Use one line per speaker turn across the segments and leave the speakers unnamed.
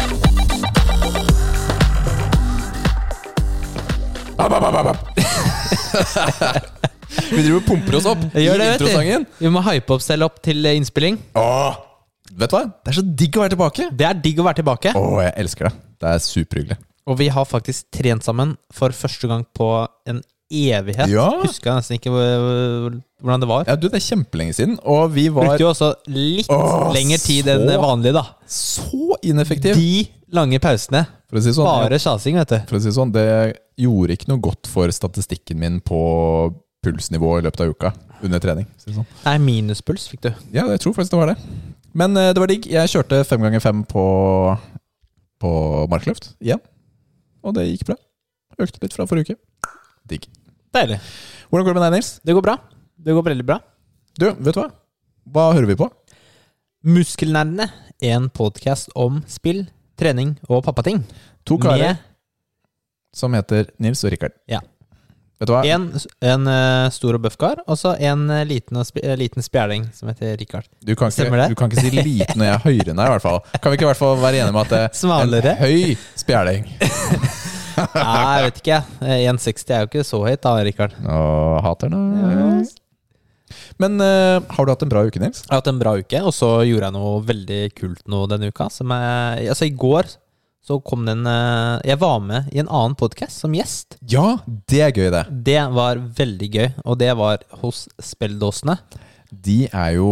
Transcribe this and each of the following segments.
Vi driver og pumper oss opp i
Gjør det, vet
introsangen.
du. Vi må hype opp selv opp til eh, innspilling.
Åh, vet du hva? Det er så digg å være tilbake.
Det er digg å være tilbake.
Åh, jeg elsker det. Det er superhyggelig.
Og vi har faktisk trent sammen for første gang på en evighet.
Ja.
Husker jeg nesten ikke hvor- hvordan det var.
Ja, du, det er kjempelenge siden, og vi var
Brukte jo også litt
Åh,
lengre tid enn
så
det vanlige, da.
så ineffektive.
De lange pausene.
For å si det sånn,
Bare sjasing, vet du.
for å si det sånn, det gjorde ikke noe godt for statistikken min på pulsnivå i løpet av uka under trening. for å Si det sånn.
Nei, minuspuls fikk du.
Ja, jeg tror faktisk det var det. Men eh, det var digg. Jeg kjørte fem ganger fem på, på markløft igjen. Og det gikk bra. Økte litt fra forrige uke. Digg.
Deilig.
Hvordan går det med deg, Nils?
Det går bra. Det går veldig bra.
Du, vet du hva? Hva hører vi på?
Muskelnerdene, en podkast om spill, trening og pappating.
To karer
Med
som heter Nils og Rikard.
Ja.
Vet du hva?
en, en eh, stor og bøff kar, og så en eh, liten, og sp- eh, liten spjæling som heter Richard.
Du kan,
Stemmer
ikke,
det?
du kan ikke si liten når jeg er høyere enn deg, i hvert fall. Kan vi ikke i hvert fall være enige om at det er
Smalere?
en høy spjæling?
Nei, jeg vet ikke. Eh, 1,60 er jo ikke så høyt, da, Richard.
Og hater den. eh. Men eh, har du hatt en bra uke, Nils?
Jeg har hatt en bra uke, og så gjorde jeg noe veldig kult nå denne uka. Som jeg, altså I går så kom det en eh, Jeg var med i en annen podkast som gjest.
Ja, det er gøy, det.
Det var veldig gøy, og det var hos Spelldåsene.
De er jo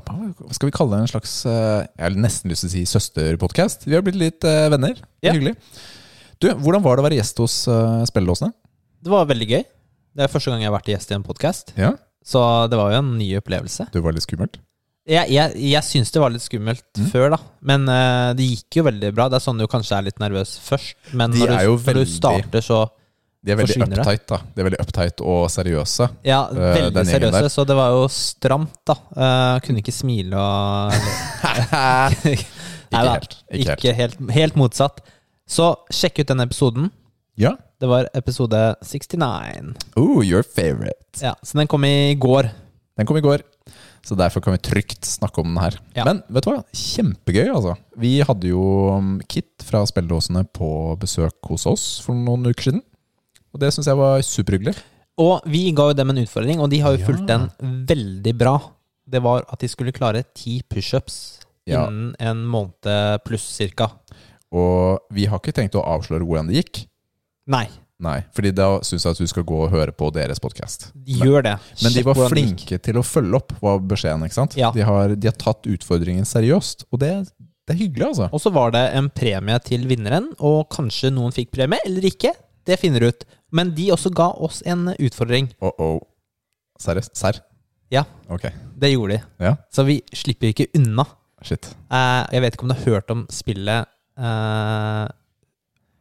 Hva skal vi kalle det? En slags eh, Jeg har nesten lyst til å si søsterpodkast. Vi har blitt litt eh, venner. Det
Ja.
er Hyggelig. Du, Hvordan var det å være gjest hos uh, Spelledåsene?
Det var veldig gøy. Det er første gang jeg har vært gjest i en podkast,
Ja.
så det var jo en ny opplevelse.
Det var litt skummelt?
Jeg, jeg, jeg syns det var litt skummelt
Mm.
før, da, men eh, det gikk jo veldig bra. Det er sånn du kanskje er litt nervøs først, men
De
når
er
du,
jo
når
veldig-
du starter, så
De er veldig
Forsvinner det?
uptight da De er veldig uptight og seriøse.
Ja,
Eh,
veldig
den gjengen
seriøse,
der.
så det var jo stramt, da. Eh, kunne ikke smile og Nei da,
helt, ikke helt.
Ikke helt. Helt motsatt. Så sjekk ut den episoden.
ja.
Det var episode 69.
Oh, your favorite.
Ja, Så den kom i går.
Den kom i går, så derfor kan vi trygt snakke om den her.
Ja.
Men vet du hva? Kjempegøy, altså. Vi hadde jo um, Kit fra Spelledåsene på besøk hos oss for noen uker siden. Og det syns jeg var superhyggelig.
Og vi ga jo dem en utfordring, og de har jo fulgt
Ja.
den veldig bra. Det var at de skulle klare ti pushups
Ja.
innen en måned pluss, cirka.
Og vi har ikke tenkt å avsløre hvordan det gikk.
Nei,
Nei, fordi da syns jeg at du skal gå og høre på deres podkast.
de gjør det.
Men de
Sjekk
var
hvordan det gikk.
flinke til å følge opp, var beskjeden. ikke sant?
Ja.
De, har, de har tatt utfordringen seriøst, og det, det er hyggelig, altså.
Og så var det en premie til vinneren, og kanskje noen fikk premie, eller ikke. Det finner du ut. Men de også ga oss en utfordring.
Oh, oh. Seriøst? Serr?
Ja,
Ok.
det gjorde de.
Ja,
Så vi slipper ikke unna.
shit.
Eh, jeg vet ikke om du har hørt om spillet eh,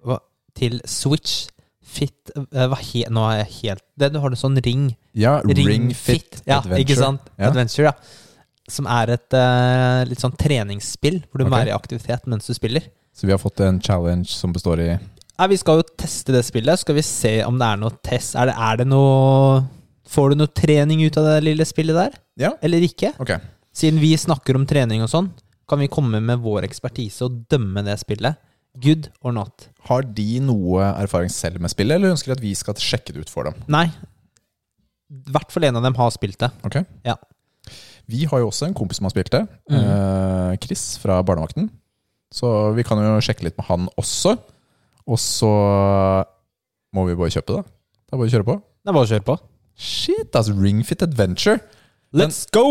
hva, til Switch Fit eh, hva he, Nå er jeg helt det, Du har en sånn ring.
Ja, Ring, Fit,
ja,
Adventure.
Ikke sant?
Ja.
Adventure, ja. Som er et eh, litt sånn treningsspill, hvor du må
Ok.
være i aktivitet mens du spiller.
Så vi har fått en challenge som består i
Nei, vi skal jo teste det spillet. Skal vi se om det er noe test. Er det, er det noe Får du noe trening ut av det lille spillet der,
Ja,
eller ikke?
ok.
Siden vi snakker om trening og sånn, kan vi komme med vår ekspertise og dømme det spillet. Good or not.
Har de noe erfaring selv med spillet, eller ønsker de at vi skal sjekke det ut for dem?
Nei. I hvert fall en av dem har spilt det.
Ok.
Ja.
Vi har jo også en kompis som har spilt det.
Mhm.
eh, Chris fra Barnevakten. Så vi kan jo sjekke litt med han også. Og så må vi bare kjøpe det. Det er bare å kjøre på.
Det er bare å kjøre på.
Shit, altså Ringfit Adventure.
Let's go!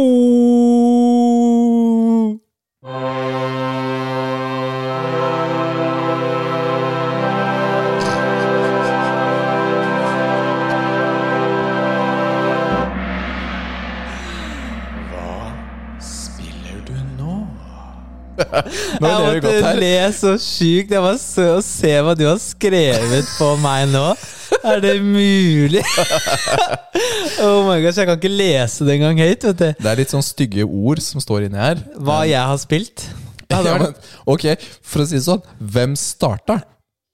Spiller du nå? nå ler
Jeg
vi godt
måtte
her.
le så sjukt. Jeg var så å se hva du har skrevet på meg nå. Er det mulig? oh my gosh, jeg kan ikke lese det engang høyt, vet du.
Det er litt sånn stygge ord som står inni her.
Hva jeg har spilt. Ja, det
Ja,
var-
men, ok, for å si det sånn. Hvem starta?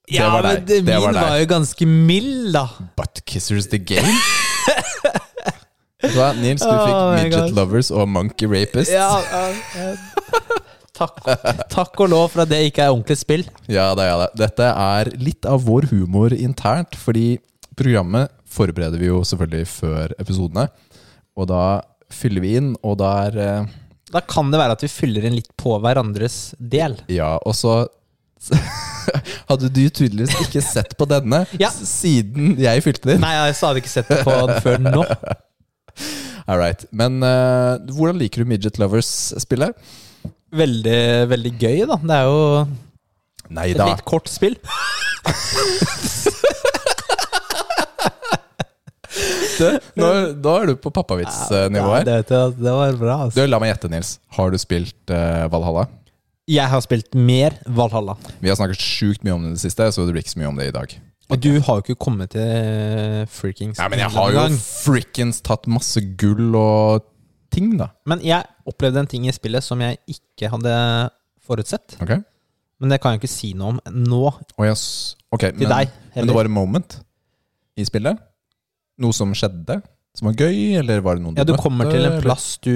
Ja,
var
men
deg.
det,
Det
min
var
var,
deg.
jo ganske mild, da.
Buttkissers The Game? Vet du hva, Nils, du fikk
Oh my
Midget
God.
Lovers og Monkey Rapist. Ja,
Ja, ja, ja. Takk, takk og lov for at det ikke er ordentlig spill.
det er det. Dette er litt av vår humor internt, fordi programmet forbereder vi jo selvfølgelig før episodene. Og da fyller vi inn, og da er eh,
Da kan det være at vi fyller inn litt på hverandres del.
Ja, og så hadde du tydeligvis ikke sett på denne
Ja.
s- siden jeg fylte din.
Nei, jeg hadde ikke sett det på den før nå.
All right. Men eh, hvordan liker du Midget Lovers-spillet?
Veldig, veldig gøy, da. Det er jo
Nei
et
da.
litt kort spill.
Nå, da er du på pappavits-nivå
Ja,
her.
det, vet jeg, det var bra,
Du,
altså.
La meg gjette, Nils. Har du spilt eh, Valhalla?
Jeg har spilt mer Valhalla.
Vi har snakket sjukt mye om det i det siste, så det blir ikke så mye om det i dag.
Og du har jo ikke kommet til Freakings.
Nei, men jeg har jo
gang.
frikkens tatt masse gull og ting, da.
Men jeg opplevde en ting i spillet som jeg ikke hadde forutsett.
Ok?
Men det kan jeg ikke si noe om nå,
Og jeg, s- ok,
til
men,
deg.
men det
heller.
var en moment i spillet? Noe som skjedde? Som var gøy, eller var det noen
ja, du
møtte,
kommer til en
eller-
plass du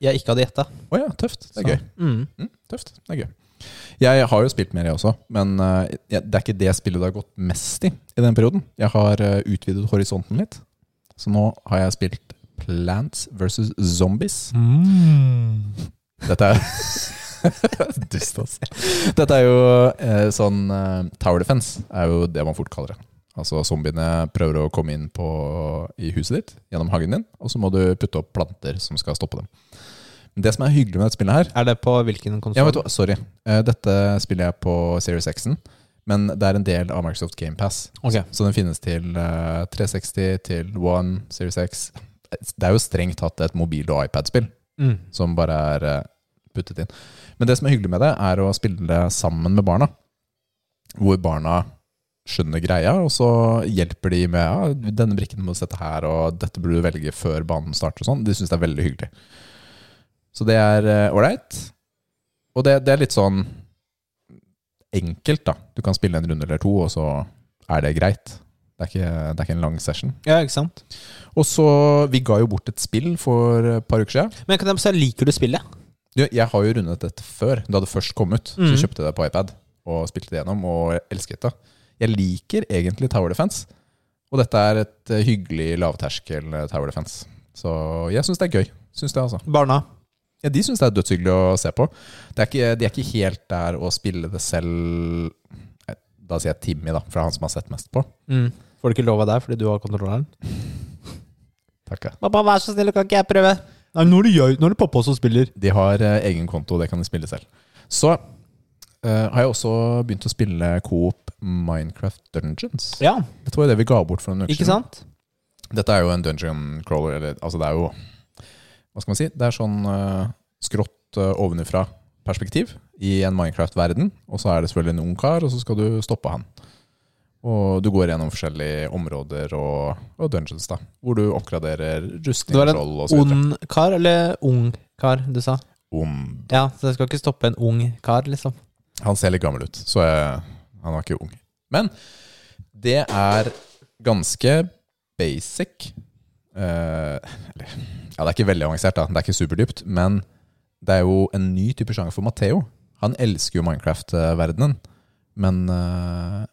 jeg ikke hadde gjetta.
Å ja, tøft. Det er gøy.
Mm.
Mm, tøft. Det er gøy. Jeg har jo spilt mer, jeg også. Men eh, jeg- det er ikke det spillet det har gått mest i i den perioden. Jeg har eh, utvidet horisonten litt. Så nå har jeg spilt Plants versus Zombies.
Mm.
Dette er Dust, altså. Dette er jo eh, sånn eh, Tower defense er jo det man fort kaller det. Altså Zombiene prøver å komme inn på, i huset ditt gjennom hagen din, og så må du putte opp planter som skal stoppe dem. Men det som er hyggelig med dette spillet her
Er det på hvilken
ja, vet du
konsoll?
hva, Sorry. Eh, Dette spiller jeg på Series X-en, men det er en del av Microsoft GamePass.
Ok.
Så den finnes til eh, 360, til One, Series X. Eh, Det er jo strengt tatt et mobil- og iPad-spill
Mm.
som bare er eh, puttet inn. Men det som er hyggelig med det, er å spille det sammen med barna. Hvor barna skjønner greia, og så hjelper de med ja, 'denne brikken må du sette her', og 'dette burde du velge før banen starter'. og sånn. De syns det er veldig hyggelig. Så det er ålreit. Og det, det er litt sånn enkelt, da. Du kan spille en runde eller to, og så er det greit. Det er ikke, det er ikke en lang session.
Ja, ikke sant?
Og så Vi ga jo bort et spill for et par uker siden.
Men kan jeg bare si, liker du spillet?
Du, jeg har jo rundet dette før. Da det først kom ut,
Mhm.
så kjøpte jeg det på iPad og spilte det gjennom, og jeg elsket det. Jeg liker egentlig Tower Defense, og dette er et eh, hyggelig lavterskel eh, Tower Defense. Så jeg syns det er gøy. Synes det, altså.
Barna?
ja, de syns det er dødshyggelig å se på. Det er ikke, de er ikke helt der å spille det selv Nei, Da sier jeg Timmy, da, for det er han som har sett mest på.
Mm. Får du ikke lov av deg fordi du har kontrolleren?
Takk, ja.
Pappa, vær så snill, kan ikke jeg prøve? Nei, nå er det, jeg, nå er det pappa som spiller.
De har eh, egen konto, det kan de spille selv. Så eh, har jeg også begynt å spille Coop Minecraft Dungeons.
Ja,
Dette var jo det vi ga bort for noen uker
ikke sant?
siden. Dette er jo en dungeon crawler, eller altså det er jo Hva skal man si? Det er sånn eh, skrått uh, ovenifra-perspektiv i en Minecraft-verden. Og så er det selvfølgelig en ung kar, og så skal du stoppe han. Og du går gjennom forskjellige områder og, og dungeons, da. Hvor du oppgraderer
Du var en
rustningsskjold og så videre.
Ond kar, eller ung kar, du sa?
Ond.
Ja, så jeg skal ikke stoppe en ung kar, liksom.
Han ser litt gammel ut, så jeg, han var ikke ung. Men det er ganske basic. Eh, eller, ja, det er ikke veldig avansert, da. det er ikke superdypt. Men det er jo en ny type sjanger for Matheo. Han elsker jo Minecraft-verdenen. Men eh,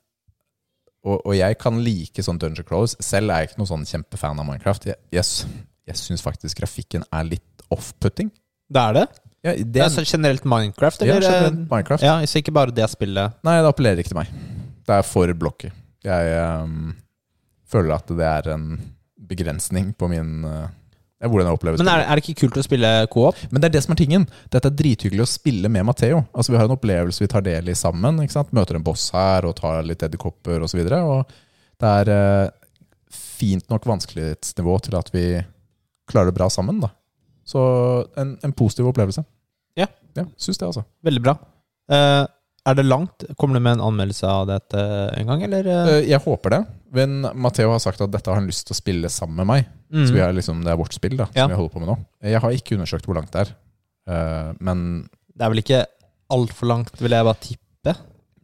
og, og jeg kan like sånn Dungeon Crawlers. Selv er jeg ikke noen sånn kjempefan av Minecraft. Jeg, jeg, s- jeg syns faktisk grafikken er litt off-putting.
Det er det?
Ja,
Det
det
er
er,
så generelt Minecraft,
ja,
eller? eh,
generelt Minecraft.
Ja, så ikke bare det spillet.
Nei, det appellerer ikke til meg. Det er for blocky. Jeg ehm, føler at det er en begrensning på min eh, ja, hvordan jeg opplever
Men er,
spillet.
er det ikke kult å spille co-op?
Men det er det som er tingen. Dette er drithyggelig å spille med Matheo. Altså, vi har en opplevelse vi tar del i sammen. Ikke sant? Møter en boss her og tar litt edderkopper osv. Det er eh, fint nok vanskelighetsnivå til at vi klarer det bra sammen. Da. Så en, en positiv opplevelse.
Ja.
ja Syns det, altså.
Veldig bra. Eh, er det langt? Kommer du med en anmeldelse av dette en gang, eller? eh?
Eh, Jeg håper det. Men Matheo har sagt at dette har han lyst til å spille sammen med meg.
Mm.
Så vi er liksom, det er vårt spill da,
Ja.
som vi holder på med nå. Jeg har ikke undersøkt hvor langt det er. Eh, Men
Det er vel ikke altfor langt, vil jeg bare tippe.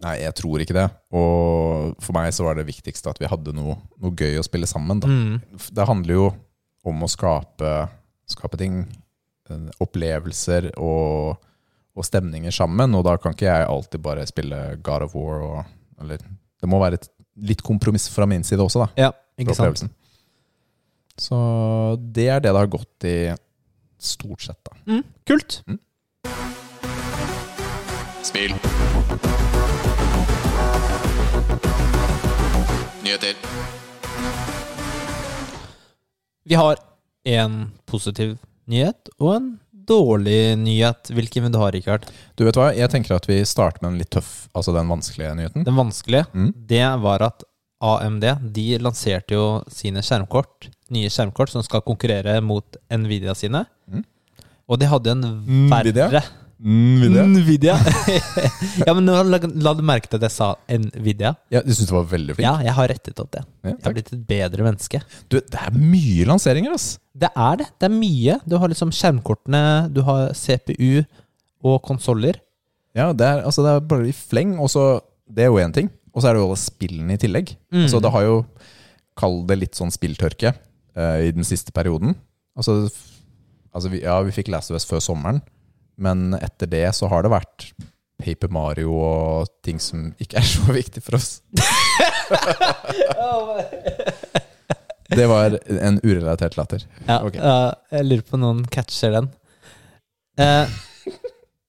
nei, jeg tror ikke det. Og for meg så var det viktigste at vi hadde noe, noe gøy å spille sammen. Da.
Mm.
Det handler jo om å skape, skape ting, eh, opplevelser og, og stemninger sammen. Og da kan ikke jeg alltid bare spille God of War og eller, Det må være et litt kompromiss fra min side også, da.
Ja,
for
ikke sant?
opplevelsen. Så det er det det har gått i stort sett, da.
Mm, kult.
Spill. Nyheter.
Vi har en positiv nyhet og en dårlig nyhet. Hvilken vil du ha, Rikard?
Du vet hva, jeg tenker at vi starter med en litt tøff, altså den vanskelige nyheten.
Den vanskelige,
Mm.
det var at AMD de lanserte jo sine skjermkort, nye skjermkort som skal konkurrere mot Nvidia sine.
Mm.
Og de hadde en
Nvidia?
verre Mm,
Mm.
Nvidia. ja, men nå la, la du merke til at jeg sa Nvidia.
Ja, du syns det var veldig flink?
Ja, jeg har rettet opp det.
Ja,
Jeg har
takk.
blitt et bedre menneske.
Du, det er mye lanseringer, ass.
Det er det. Det er mye. Du har liksom skjermkortene, du har CPU og konsoller.
Ja, det er, altså, det er bare i fleng. Og så Det er jo én ting. Og så er det jo alle spillene i tillegg.
Mm.
Så det har jo Kall det litt sånn spilltørke eh, i den siste perioden. Altså, f- altså vi, Ja, vi fikk Last of Us før sommeren, men etter det så har det vært Paper Mario og ting som ikke er så viktig for oss. Det var en urelatert latter.
Ja,
Ok.
ja, jeg lurer på om noen catcher den. Eh,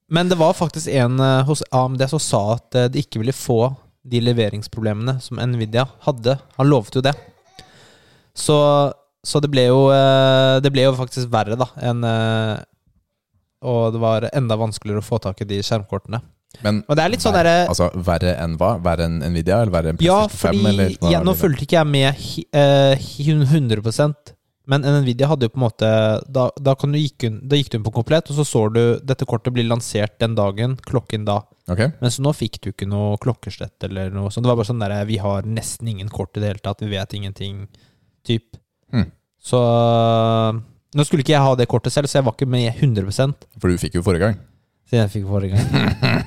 men det var faktisk en eh, hos AMD som sa at eh, de ikke ville få de leveringsproblemene som Nvidia hadde. Han lovet jo det. Så, så det, ble jo, eh, det ble jo faktisk verre, da. Enn, eh, og det var enda vanskeligere å få tak i de skjermkortene.
Men
Og det er litt sånn
verre,
derre
altså, verre enn hva? Verre enn Nvidia? Eller verre enn
Ja,
PlayStation 5?
fordi
eller hva
ja,
er
nå
det?
fulgte ikke jeg med hi- eh, hi- 100 men Nvidia hadde jo på en måte Da, da, kan du gikk, hun- da gikk du inn på komplett, og så så du dette kortet blir lansert den dagen, klokken da.
Ok.
Men så nå fikk du ikke noe klokkeslett eller noe sånt. Det var bare sånn derre Vi har nesten ingen kort i det hele tatt, vi vet ingenting, typ.
Hmm.
Så eh, Nå skulle ikke jeg ha det kortet selv, så jeg var ikke med 100
For du fikk jo forrige gang.
siden jeg fikk forrige gang.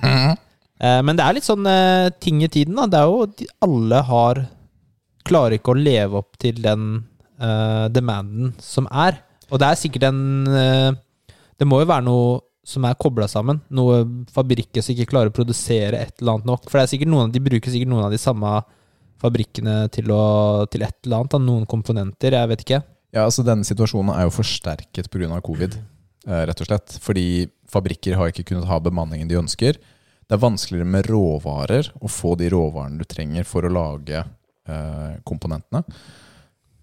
Eh, Men det er litt sånn eh, ting i tiden, da. Det er jo de- alle har Klarer ikke å leve opp til den eh, demanden som er. Og det er sikkert en eh, Det må jo være noe som er kobla sammen. Noe fabrikker som ikke klarer å produsere et eller annet nok. For det er sikkert noen av de bruker sikkert noen av de samme fabrikkene til, å, til et eller annet. Da. Noen komponenter, jeg vet ikke.
Ja, altså Denne situasjonen er jo forsterket pga. covid, eh, rett og slett. Fordi fabrikker har ikke kunnet ha bemanningen de ønsker. Det er vanskeligere med råvarer å få de råvarene du trenger for å lage eh, komponentene.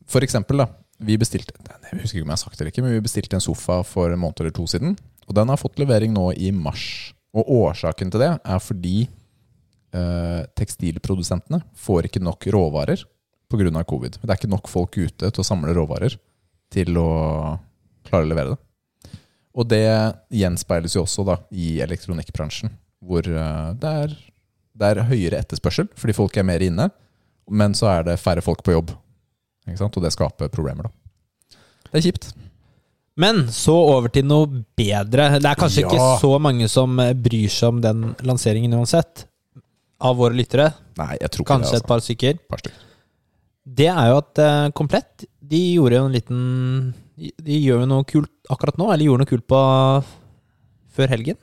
For eksempel, da. Vi bestilte jeg husker ikke om jeg har sagt det eller ikke, men vi bestilte en sofa for en måned eller to siden. Og den har fått levering nå i mars. Og årsaken til det er fordi eh, tekstilprodusentene får ikke nok råvarer pga. covid. Det er ikke nok folk ute til å samle råvarer til å klare å levere det. Og det gjenspeiles jo også da i elektronikkbransjen, hvor eh, det er, det er høyere etterspørsel fordi folk er mer inne, men så er det færre folk på jobb. Ikke sant? Og det skaper problemer, da. Det er kjipt.
Men så over til noe bedre. Det er kanskje
Ja.
ikke så mange som eh, bryr seg om den lanseringen uansett. Av våre lyttere.
Nei, jeg tror ikke
Kanskje
det. altså.
et par stykker.
Et par stykker.
Det er jo at eh, Komplett de gjorde jo en liten De gjør jo noe kult akkurat nå, eller gjorde noe kult på før helgen.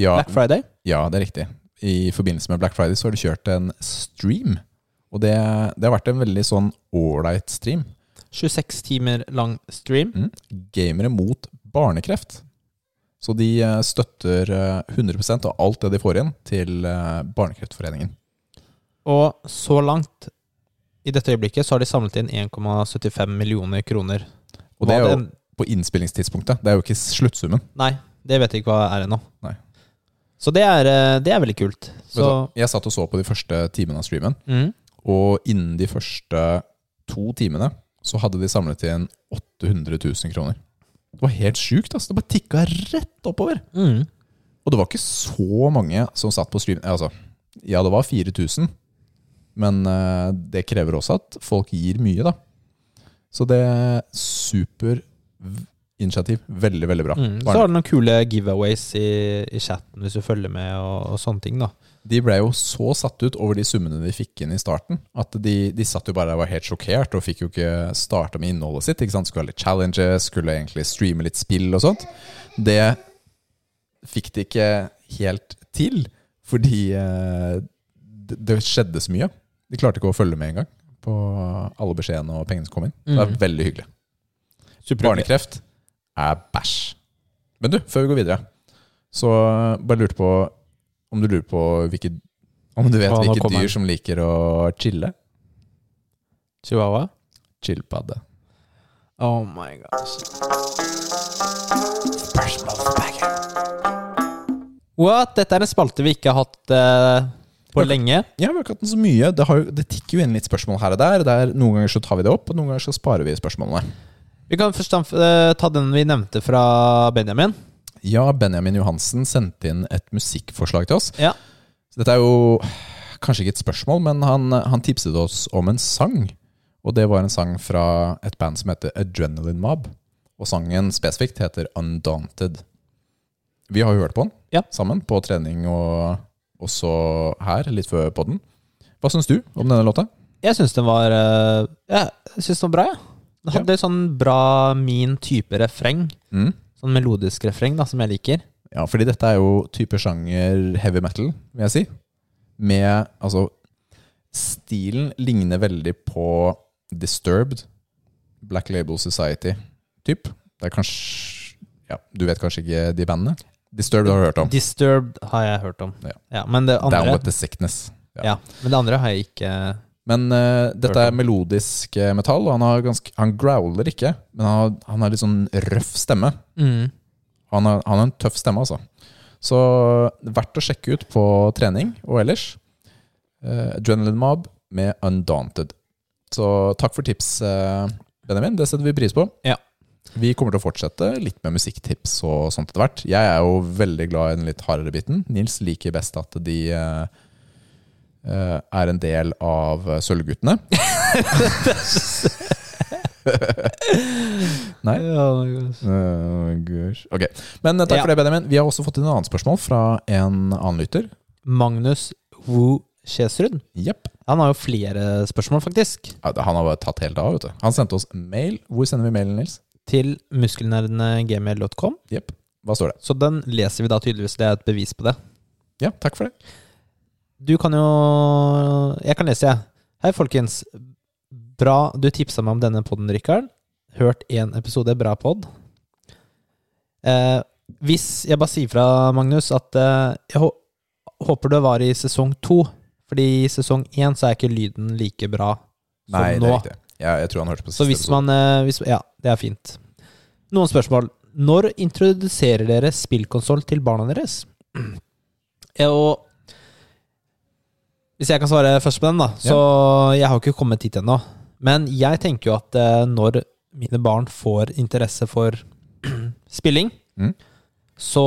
Ja,
Black Friday.
Ja, det er riktig. I forbindelse med Black Friday så har de kjørt en stream. Og det, det har vært en veldig sånn ålreit stream.
26 timer lang stream.
Mm. Gamere mot barnekreft. Så de eh, støtter eh, 100 av alt det de får inn til eh, Barnekreftforeningen.
Og så langt i dette øyeblikket så har de samlet inn 1,75 millioner kroner.
Og det
Hva
er jo
den-
på innspillingstidspunktet. Det er jo ikke sluttsummen.
Nei, det vet jeg ikke hva er ennå.
Nei.
Så det er, eh, det er veldig kult.
Vet du
Så,
hva? Jeg satt og så på de første timene av streamen,
mm,
og innen de første to timene så hadde de samlet inn 800 000 kroner. Det var helt sjukt. Altså. Det bare tikka rett oppover.
mm,
Og det var ikke så mange som satt på stream. Altså, ja, det var 4000, men eh, det krever også at folk gir mye, da. Så det er super v- initiativ. Veldig, veldig bra.
mm. Så
Barne-
har du noen kule giveaways i, i chatten hvis du følger med, og, og sånne ting. da
De ble jo så satt ut over de summene de fikk inn i starten, at de, de satt jo bare der og var helt sjokkert og fikk jo ikke starta med innholdet sitt. ikke sant? Skulle ha litt challenges, skulle egentlig streame litt spill og sånt. Det fikk de ikke helt til, fordi eh, det, det skjedde så mye. De klarte ikke å følge med engang på alle beskjedene og pengene som kom inn. Det
Mm.
er veldig hyggelig.
Superbra.
Barnekreft er bæsj. Men du, før vi går videre, så eh, bare lurte på om du lurer på hvilke Om du vet
Å, nå
hvilke
kommer
dyr
den.
som liker å chille?
Chihuahua.
Chillpadde.
Oh my god. What? Dette er en spalte vi ikke har hatt eh, på lenge.
Ja, vi har ikke hatt den så mye. Det, har, jo- det tikker jo inn litt spørsmål her og der. Det er, noen ganger så tar vi det opp, og noen ganger så sparer vi spørsmålene.
Vi kan først anf- eh, ta den vi nevnte fra Benjamin.
Ja, Benjamin Johansen sendte inn et musikkforslag til oss.
Ja.
Så dette er jo kanskje ikke et spørsmål, men han, han tipset oss om en sang. Og det var en sang fra et band som heter Adrenaline Mob. Og sangen spesifikt heter Undaunted. Vi har jo hørt på den
Ja.
sammen på trening og også her, litt før podden. Hva syns du om denne låta?
Jeg syns den var eh, ja, Jeg synes den var bra, jeg. Ja. Den hadde sånn bra min type refreng.
Mm.
Sånn melodisk refreng da, som jeg liker.
Ja, fordi dette er jo type sjanger heavy metal, vil jeg si. Med altså Stilen ligner veldig på Disturbed, Black Label Society, typ. Det er kanskje Ja, du vet kanskje ikke de bandene? Disturbed har du hørt om.
Disturbed har jeg hørt om.
Ja.
men, det
Down
andre,
with the Sickness.
ja. men det andre har jeg ikke
Men eh, dette
Hørt
er melodisk eh, metall, og han, har ganske, han growler ikke. Men han har, han har litt sånn røff stemme.
mm.
Han har, han har en tøff stemme, altså. Så verdt å sjekke ut på trening og ellers. Eh, Adrenaline Mob med Undaunted. Så takk for tips, eh, Benjamin. Det setter vi pris på.
Ja.
Vi kommer til å fortsette litt med musikktips og sånt etter hvert. Jeg er jo veldig glad i den litt hardere biten. Nils liker best at de eh, eh, er en del av eh, Sølvguttene. Nei. Eh, gosh. Ok, Men eh, takk
Ja.
for det, Benjamin. Vi har også fått inn et annet spørsmål fra en annen lytter.
Magnus Wu Kjesrud.
Jepp.
Han har jo flere spørsmål, faktisk.
Ja, det- Han har bare tatt helt av. vet du Han sendte oss mail. Hvor sender vi mailen, Nils?
Til muskelnerdene.gmail.com.
Jepp. Hva står det?
Så den leser vi da tydeligvis. Det er et bevis på det.
Ja, takk for det.
Du kan jo Jeg kan lese, jeg. Hei, folkens. Bra du tipsa meg om denne podden, Rikard. Hørt én episode, bra pod. Eh, hvis Jeg bare sier fra, Magnus, at eh, jeg hå- håper det var i sesong to. Fordi i sesong én så er ikke lyden like bra som
Nei,
nå.
det er riktig. Jeg, jeg tror han hørte på siste
Så hvis man eh, hvis, Ja, det er fint. Noen spørsmål. Når introduserer dere spillkonsoll til barna deres? Ja, Og Hvis jeg kan svare først på den, da. Så jeg har ikke kommet hit ennå. Men jeg tenker jo at eh, når mine barn får interesse for spilling,
Mm.
så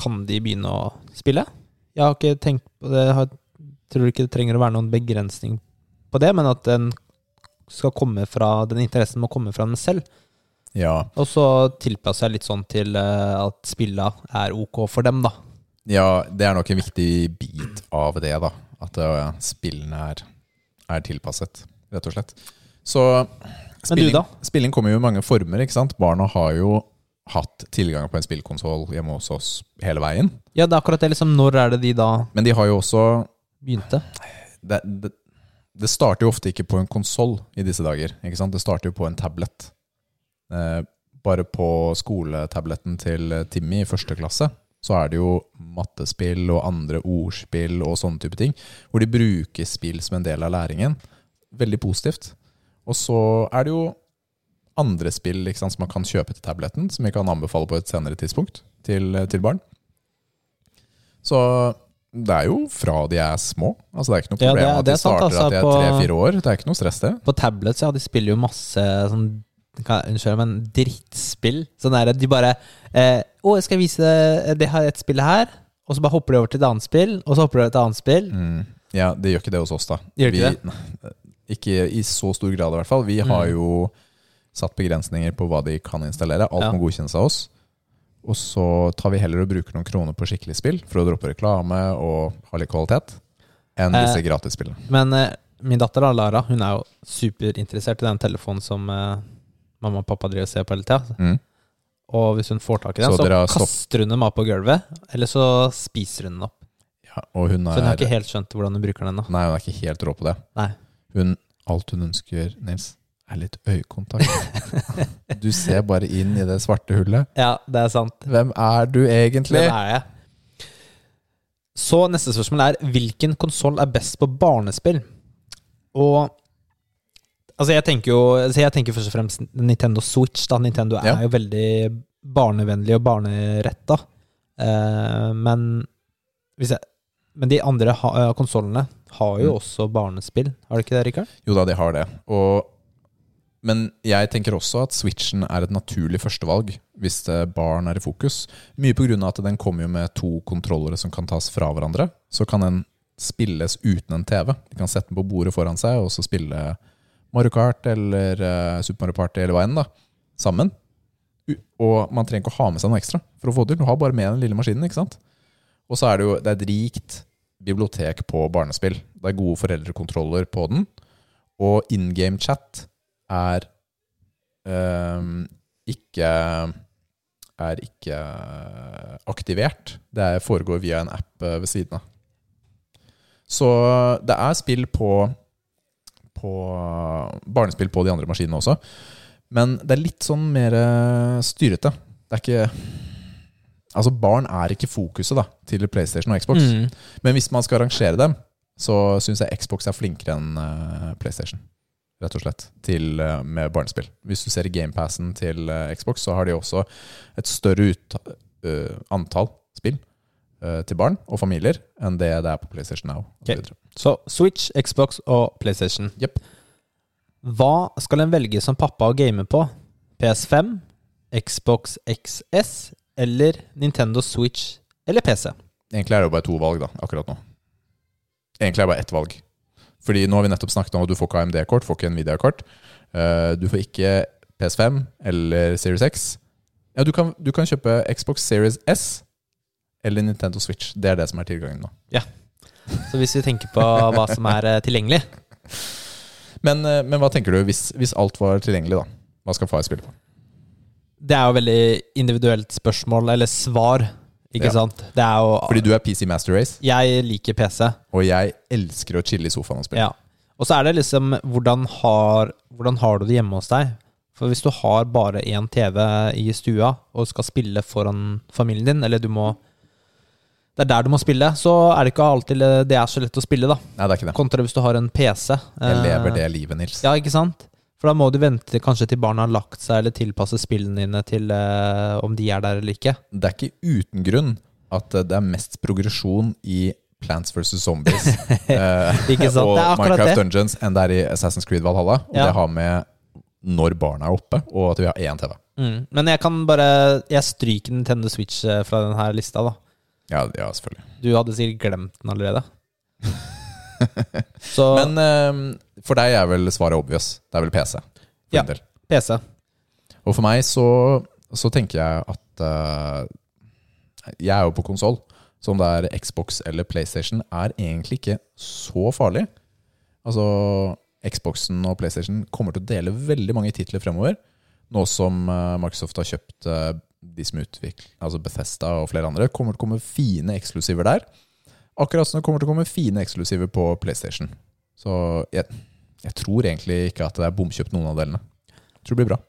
kan de begynne å spille. Jeg har ikke tenkt på det. Jeg har, tror ikke det trenger å være noen begrensning på det, men at den skal komme fra Den interessen må komme fra den selv.
episode. Ja.
Og så tilpasser jeg litt sånn til eh, at spilla er ok for dem, da.
ja, det er nok en viktig bit av det, da. At eh, spillene er, er tilpasset, rett og slett. Så
Men du,
spilling,
da?
spilling kommer jo i mange former, ikke sant? Barna har jo hatt tilgang på en spillkonsoll hjemme hos oss hele veien.
Ja, det er akkurat det. liksom Når er det de da
Men de har jo også
begynte?
det, det, det starter jo ofte ikke på en konsoll i disse dager. Ikke sant? Det starter jo på en tablet. Eh, bare på skoletabletten til Timmy i første klasse så er det jo mattespill og andre ordspill og sånne type ting, hvor de bruker spill som en del av læringen. Veldig positivt. Og så er det jo andre spill ikke sant, som man kan kjøpe til tabletten, som vi kan anbefale på et senere tidspunkt til, til barn. Så det er jo fra de er små. Altså Det er ikke noe
Ja,
problem
det er-
at de
det er sant,
starter
altså,
at de er
på-
tre-fire år. Det er ikke noe stress, det.
På tablets, ja, de spiller jo masse sånn hva- Unnskyld, men drittspill. Sånn er det. De bare eh, 'Å, jeg skal vise deg det her et spill her.' Og så bare hopper de over til et annet spill, og så hopper de over til et annet spill.
Mm. Ja, det gjør ikke det hos oss, da.
Gjør ikke det? Mm.
Nei, ikke i så stor grad, i hvert fall. Vi har jo satt begrensninger på hva de kan installere. Alt
Ja.
må godkjennes av oss. Og så tar vi heller og bruker noen kroner på skikkelig spill for å droppe reklame og ha litt kvalitet, enn disse
Eh.
gratisspillene.
Men eh, min datter, da, Lara, hun er jo superinteressert i den telefonen som eh, mamma og pappa driver og ser på hele tida.
Mm.
Og hvis hun får tak i den,
Så
så,
dere har stopp-
kaster hun dem av på gulvet, eller så spiser hun den opp.
Ja, og hun
Så
er,
hun har ikke helt skjønt hvordan hun bruker den ennå.
nei, hun er ikke helt rå på det.
Nei.
Hun, alt hun ønsker, Nils, er litt øyekontakt. du Du ser bare inn i det svarte hullet.
Ja, det er sant.
Hvem er du egentlig?
Det er jeg. Så neste spørsmål er hvilken konsoll er best på barnespill? Og altså jeg tenker jo altså jeg tenker først og fremst Nintendo Switch. da Nintendo er
Ja.
jo veldig barnevennlig og barneretta. Eh, men, hvis jeg, men de andre ha, konsollene har jo
Mm.
også barnespill, har de ikke det, Rikard?
Jo da, de har det. Og, men jeg tenker også at Switchen er et naturlig førstevalg hvis det barn er i fokus. Mye pga. at den kommer jo med to kontrollere som kan tas fra hverandre. Så kan den spilles uten en TV. De kan sette den på bordet foran seg og så spille Mario Kart eller eh, Super Mario Party eller hva enn da, sammen. U- Og man trenger ikke å ha med seg noe ekstra for å få det til. Du har bare med den lille maskinen. ikke sant? Og så er det jo det er et rikt bibliotek på barnespill. Det er gode foreldrekontroller på den. Og in game chat er ehm, ikke er ikke eh, aktivert. Det er- foregår via en app eh, ved siden av. Så det er spill på, på Barnespill på de andre maskinene også. Men det er litt sånn mer eh, styrete. Det er ikke Altså, barn er ikke fokuset da til PlayStation og Xbox.
Mm.
Men hvis man skal rangere dem, så syns jeg Xbox er flinkere enn eh, PlayStation. Rett og slett. Til, eh, med barnespill. Hvis du ser i GamePassen til eh, Xbox, så har de også et større ut, eh, antall spill eh, til barn og familier enn det det er på PlayStation Now. og så
Ok.
videre.
Så Switch, Xbox og PlayStation.
Jepp.
Hva skal en velge som pappa å game på? PS5, Xbox XS eller Nintendo Switch eller PC?
Egentlig er det jo bare to valg da, akkurat nå. Egentlig er det bare ett valg. Fordi nå har vi nettopp snakket om at du får ikke AMD-kort, får ikke Nvidia-kort. Eh, Du får ikke PS5 eller Series X. Ja, du kan, du kan kjøpe Xbox Series S eller Nintendo Switch. Det er det som er tilgangen nå.
Så hvis vi tenker på hva som er eh, tilgjengelig
Men, eh, men hva tenker du hvis, hvis alt var tilgjengelig, da? Hva skal far spille på?
Det er jo veldig individuelt spørsmål, eller svar, ikke
Ja.
sant? Det er jo
Fordi du er PC Master Race,
Jeg liker PC.
og jeg elsker å chille i sofaen og spille.
Ja. Og så er det liksom hvordan har, hvordan har du det hjemme hos deg? For hvis du har bare én TV i stua og skal spille foran familien din, eller du må Det er der du må spille, så er det ikke alltid det er så lett å spille, da.
Nei, det er ikke det.
Kontra hvis du har en PC.
Jeg lever
Eh,
det livet, Nils.
Ja, ikke sant? For da må du vente kanskje til barna har lagt seg, eller tilpasse spillene dine til eh, om de er der eller ikke.
det er ikke uten grunn at eh, det er mest progresjon i Plants vs. Zombies eh,
Ikke sant?
og
Det er akkurat
Minecraft
det.
Dungeons enn det er i Assassin's Creed Valhalla. Og
Ja.
det har med når barna er oppe, og at vi har én TV.
Mm. Men jeg kan bare Jeg stryker Nintendo Switch eh, fra denne lista, da.
Ja, ja selvfølgelig.
Du hadde sikkert glemt den allerede. Så
Men eh, for deg er vel svaret obvious. Det er vel PC. For
Ja.
en del.
PC.
Og for meg så, så tenker jeg at eh, Jeg er jo på konsoll. Så om det er Xbox eller PlayStation, er egentlig ikke så farlig. Altså, Xboxen og PlayStation kommer til å dele veldig mange titler fremover. Nå som eh, Microsoft har kjøpt eh, de som utvikler Altså Bethesda og flere andre, kommer til å komme fine eksklusiver der. Akkurat som det kommer til å komme fine eksklusiver på PlayStation. Så jeg, jeg tror egentlig ikke at det er bomkjøpt noen av delene. Jeg tror det blir bra.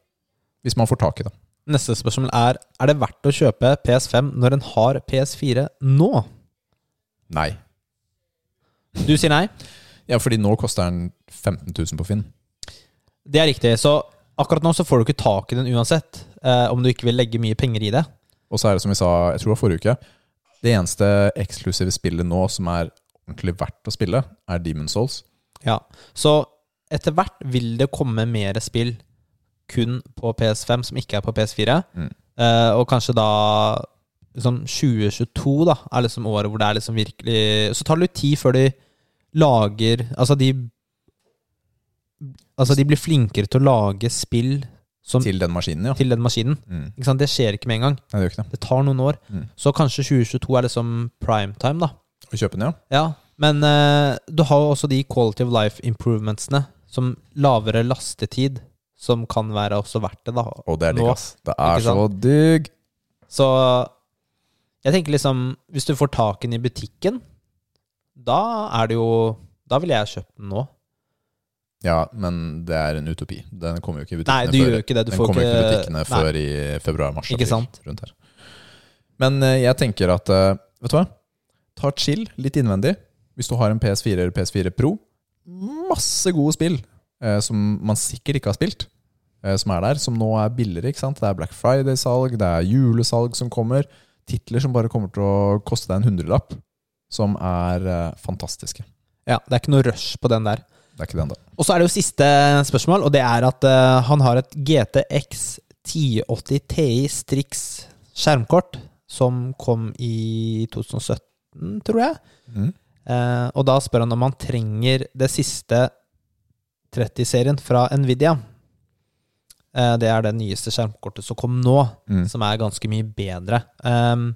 Hvis man får tak i det.
Neste spørsmål er Er det verdt å kjøpe PS5 når en har PS4 nå?
Nei.
Du sier nei.
Ja, fordi nå koster den 15 000 på Finn.
Det er riktig. Så akkurat nå så får du ikke tak i den uansett. Eh, om du ikke vil legge mye penger i det.
Og så er det som vi sa, jeg tror det var forrige uke, det eneste eksklusive spillet nå som er ordentlig verdt å spille, er Demon's Souls.
Ja. Så etter hvert vil det komme mer spill kun på PS5 som ikke er på PS4.
Mm.
Eh, og kanskje da liksom 2022 da, er liksom året hvor det er liksom virkelig Så tar det litt tid før de lager Altså de Altså de blir flinkere til å lage spill som, til.
Til den maskinen, ja.
den maskinen.
Mm.
Ikke sant? Det skjer ikke med en gang.
Nei, det gjør ikke det.
Det tar noen år.
Mm.
Så kanskje 2022 er liksom prime time, da.
Å kjøpe den, ja.
Ja, men eh, du har jo også de quality of life improvementsene, som lavere lastetid, som kan være også verdt det, da.
Og det er digg,
Nå.
ass. Det er
Ikke
så
sant?
digg.
Så jeg tenker liksom, hvis du får tak i den i butikken, da er det jo Da ville jeg kjøpt den nå.
Ja, men det er en utopi. Den kommer jo ikke i
Nei,
butikkene
du
før,
gjør jo ikke det. Du
den
får
kommer jo ikke i
ikke
butikkene
Nei.
før i februar-mars.
Ikke sant?
Rundt her. Men eh, jeg tenker at eh, Vet du hva? Ta chill litt innvendig. Hvis du har en PS4 eller PS4 Pro, masse gode spill eh, som man sikkert ikke har spilt, eh, som er der, som nå er billigere. ikke sant? Det er Black Friday-salg, det er julesalg som kommer. Titler som bare kommer til å koste deg en hundrelapp, som er eh, fantastiske.
Ja, det er ikke noe rush på den der.
Det er ikke det ennå.
Og så er det jo siste spørsmål, og det er at eh, han har et GTX 1080 Ti Strix skjermkort som kom i 2017, tror jeg.
Mm.
Eh, og da spør han om han trenger det siste 30-serien fra Nvidia. Eh, det er det nyeste skjermkortet som kom nå,
Mm.
som er ganske mye bedre. Um,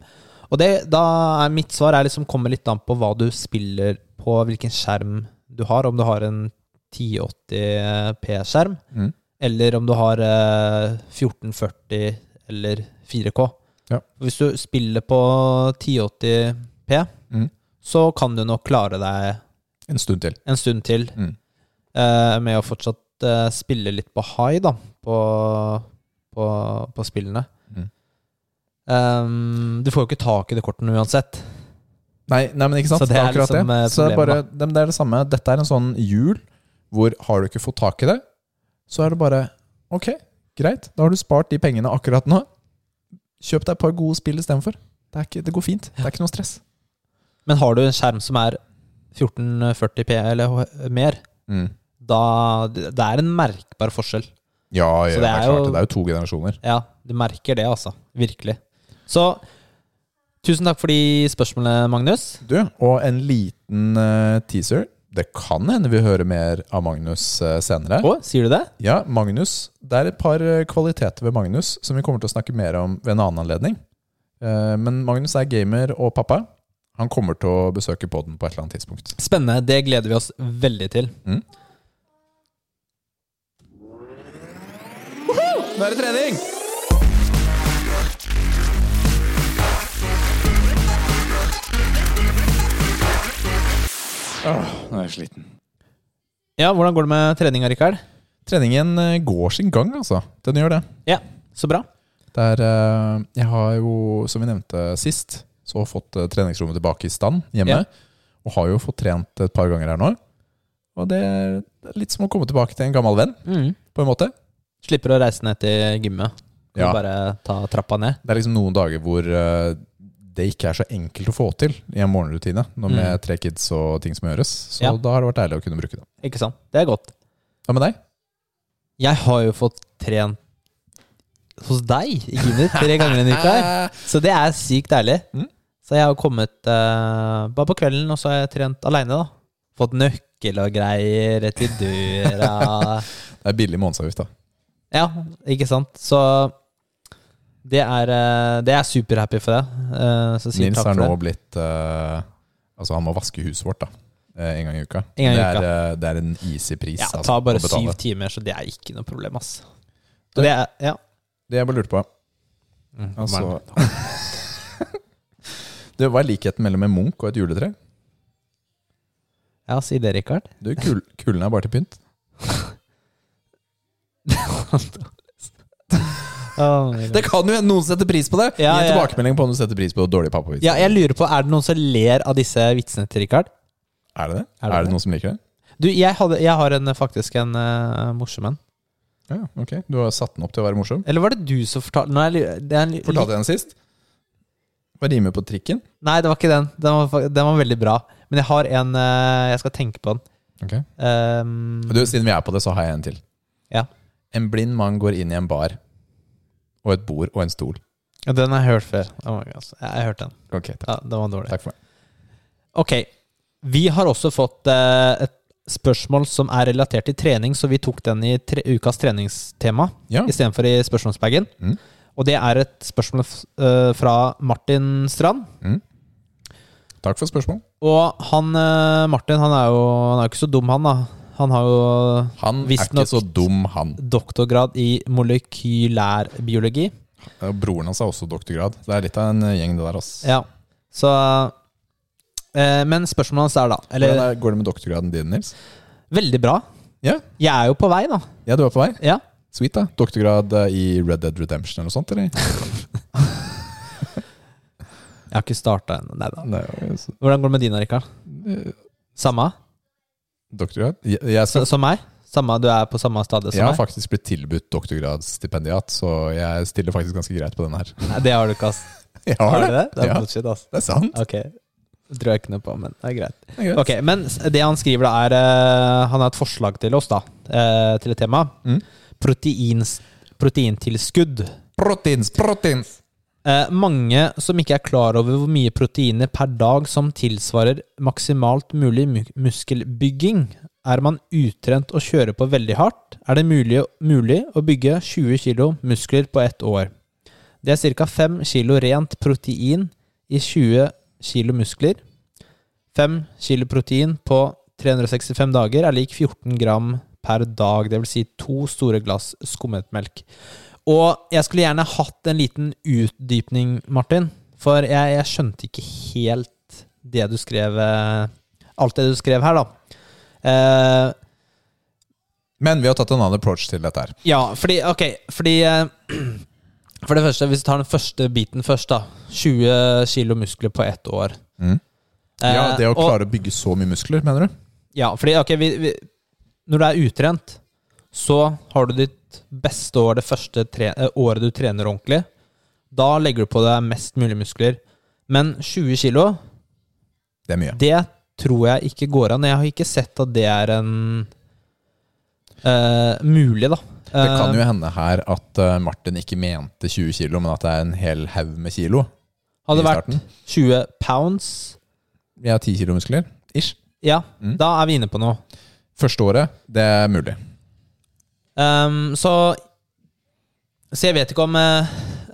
og det, da er mitt svar er liksom kommer litt an på hva du spiller på, hvilken skjerm du har. Om du har en 1080 P-skjerm,
Mm.
eller om du har eh, 1440 eller 4K.
Ja.
Hvis du spiller på 1080 P,
Mm.
så kan du nok klare deg
En stund til.
en stund til
Mm.
eh, med å fortsatt eh, spille litt på high, da, på, på, på spillene.
Mm.
Ehm, du får jo ikke tak i det kortet uansett.
Nei, nei, men ikke sant?
Så det er
akkurat
liksom, eh,
Så det er, bare,
problemet,
det, men det er det samme. Dette er en sånn jul hvor har du ikke fått tak i det, så er det bare Ok, greit. Da har du spart de pengene akkurat nå. Kjøp deg et par gode spill istedenfor. Det, er ikke- det går fint. Det er ikke noe stress.
Men har du en skjerm som er 1440p eller h- mer, Mm. da Det er en merkbar forskjell.
Ja, ja,
Så det
det,
er
er klart.
jo-
det. Det er jo to generasjoner.
Ja, du merker det, altså. Virkelig. Så tusen takk for de spørsmålene, Magnus.
Du, og en liten eh, teaser. Det kan hende vi hører mer av Magnus eh, senere.
Å, sier du det?
Ja, Magnus. Det er et par eh, kvaliteter ved Magnus som vi kommer til å snakke mer om ved en annen anledning. Eh, Men Magnus er gamer og pappa. Han kommer til å besøke podden på et eller annet tidspunkt.
Spennende. Det gleder vi oss veldig til.
Mm.
Nå er det trening!
nå er jeg sliten.
Ja, hvordan går det med treninga, Rikard?
Treningen eh, går sin gang, altså. Den gjør det.
Ja, så bra.
Det er, eh, jeg har jo, som vi nevnte sist, så fått eh, treningsrommet tilbake i stand hjemme.
Ja.
Og har jo fått trent et par ganger her nå. Og det er litt som å komme tilbake til en gammel venn, på en måte.
Slipper å reise ned til gymmet. Kan
Ja.
du bare ta trappa ned.
Det er liksom noen dager hvor eh, det ikke er så enkelt å få til i en morgenrutine. Når med tre kids og ting som gjøres. Så
Mm. Ja.
da har det vært deilig å kunne bruke det.
Ikke sant? Det er godt.
Hva med deg?
Jeg har jo fått trent hos deg i Guinness tre ganger en uke
Eh,
her. Så det er sykt deilig.
Mm.
Så jeg har kommet eh, bare på kvelden, og så har jeg trent aleine, da. Fått nøkkel og greier rett i døra.
Det er billig månedsavgift, da.
ja, ikke sant. Så det er, eh, det er superhappy for det. Eh, så sier
Nils
takk
er
for
nå
det.
blitt eh, Altså, han må vaske huset vårt, da. eh, en gang i uka.
En gang i
det, er,
uka.
eh, det er en easy pris.
Ja,
altså,
ta
å
bare
betale.
syv timer, så det er ikke noe problem, ass.
Du-
Det er, ja.
Det jeg bare lurte på altså, Det Hva er likheten mellom en munk og et juletre?
Ja, si det, Rikard.
Du, kul, Kulene er bare til pynt. Det kan jo hende noen setter pris på det!
Ja,
Gi en
ja.
tilbakemelding på om du setter pris på dårlig pappavits.
Ja, jeg lurer på, er det noen som ler av disse vitsene til Rikard?
Er det det?
Er
Er
det
det,
det?
noen som liker det?
Du, jeg, hadde, jeg har en, faktisk en eh, morsom en.
Ja, ok. Du har satt den opp til å være morsom.
Eller var det du som fortalte Nå er jeg lu- det er en, li-
Fortalte jeg den sist? Hva rimer på trikken?
Nei, det var ikke den. Den var, fa- den var veldig bra. Men jeg har en eh, Jeg skal tenke på den.
Ok.
Ehm,
Du, siden vi er på det, så har jeg en til.
Ja.
En blind mann går inn i en bar. Og et bord og en stol.
ja, den har jeg hørt før. Oh my God. Jeg har hørt den.
Ok, takk,
Ja, den var dårlig.
takk for meg.
Ok, vi har også fått eh, et spørsmål som er relatert til trening, så vi tok den i tre ukas treningstema
Ja.
istedenfor i spørsmålsbagen.
Mm.
Og det er et spørsmål f- eh, fra Martin Strand.
Takk for spørsmål.
Og han eh, Martin, han er jo han er jo ikke så dum, han da. Han har jo
Han er
Visst
ikke
nok.
så dum, han.
doktorgrad i molekylærbiologi.
Og Broren hans har også doktorgrad. Det er litt av en eh, gjeng, det der. Ass.
Ja, så eh, Men spørsmålet hans er da eller,
Hvordan er, går det med doktorgraden din, Nils?
Veldig bra.
Ja.
Jeg er jo på vei, da.
Ja, du er på vei.
Ja.
Sweet, da. Doktorgrad eh, i Red Dead Redemption eller noe sånt, eller?
Jeg har ikke starta ennå. Nei da.
Nei, altså,
Hvordan går det med din, Rikard?
eh,
Samme?
Doktorgrad? Jeg, jeg
S
skal,
som meg? Samme, du er på samme stadiet
jeg
som
har
meg?
faktisk blitt tilbudt doktorgradsstipendiat, så jeg stiller faktisk ganske greit på den her.
Nei, det har du ikke, ass.
Jeg har det.
du det? Det er
Ja.
bullshit, ass.
Det er sant.
Ok. Det tror jeg ikke noe på, men det er greit.
Det er greit.
Ok, Men s- det han skriver, da, er eh, Han har et forslag til oss, da. eh, Til et tema.
Mm.
Proteins, proteintilskudd.
Proteins, proteins!
Eh, mange som ikke er klar over hvor mye proteiner per dag som tilsvarer maksimalt mulig mu muskelbygging. Er man utrent og kjører på veldig hardt, er det mulig, mulig å bygge 20 kilo muskler på ett år. Det er ca. 5 kilo rent protein i 20 kilo muskler. 5 kilo protein på 365 dager er lik 14 gram per dag, dvs. Si to store glass skummet melk. Og jeg skulle gjerne hatt en liten utdypning, Martin. For jeg, jeg skjønte ikke helt det du skrev eh, Alt det du skrev her, da. Eh,
Men vi har tatt en annen approach til dette her.
ja, fordi Ok, fordi eh, For det første, hvis du tar den første biten først, da. 20 kilo muskler på ett år.
Mm. Ja,
Eh,
Det å
og-
klare å bygge så mye muskler, mener du?
Ja, fordi ok, vi, vi, når du er utrent, så har du ditt beste år det første tre, eh, året du trener ordentlig. Da legger du på deg mest mulig muskler. Men 20 kilo,
Det er mye.
det tror jeg ikke går an. Jeg har ikke sett at det er en eh, mulig, da.
Det
eh,
kan jo hende her at eh, Martin ikke mente 20 kilo, men at det er en hel haug med kilo. i
hadde det vært
starten.
20 pounds,
Jeg har 10 kilo muskler. Ish.
ja,
Mm.
da er vi inne på noe.
Første året, det er mulig.
Ehm, så Så jeg vet ikke om eh,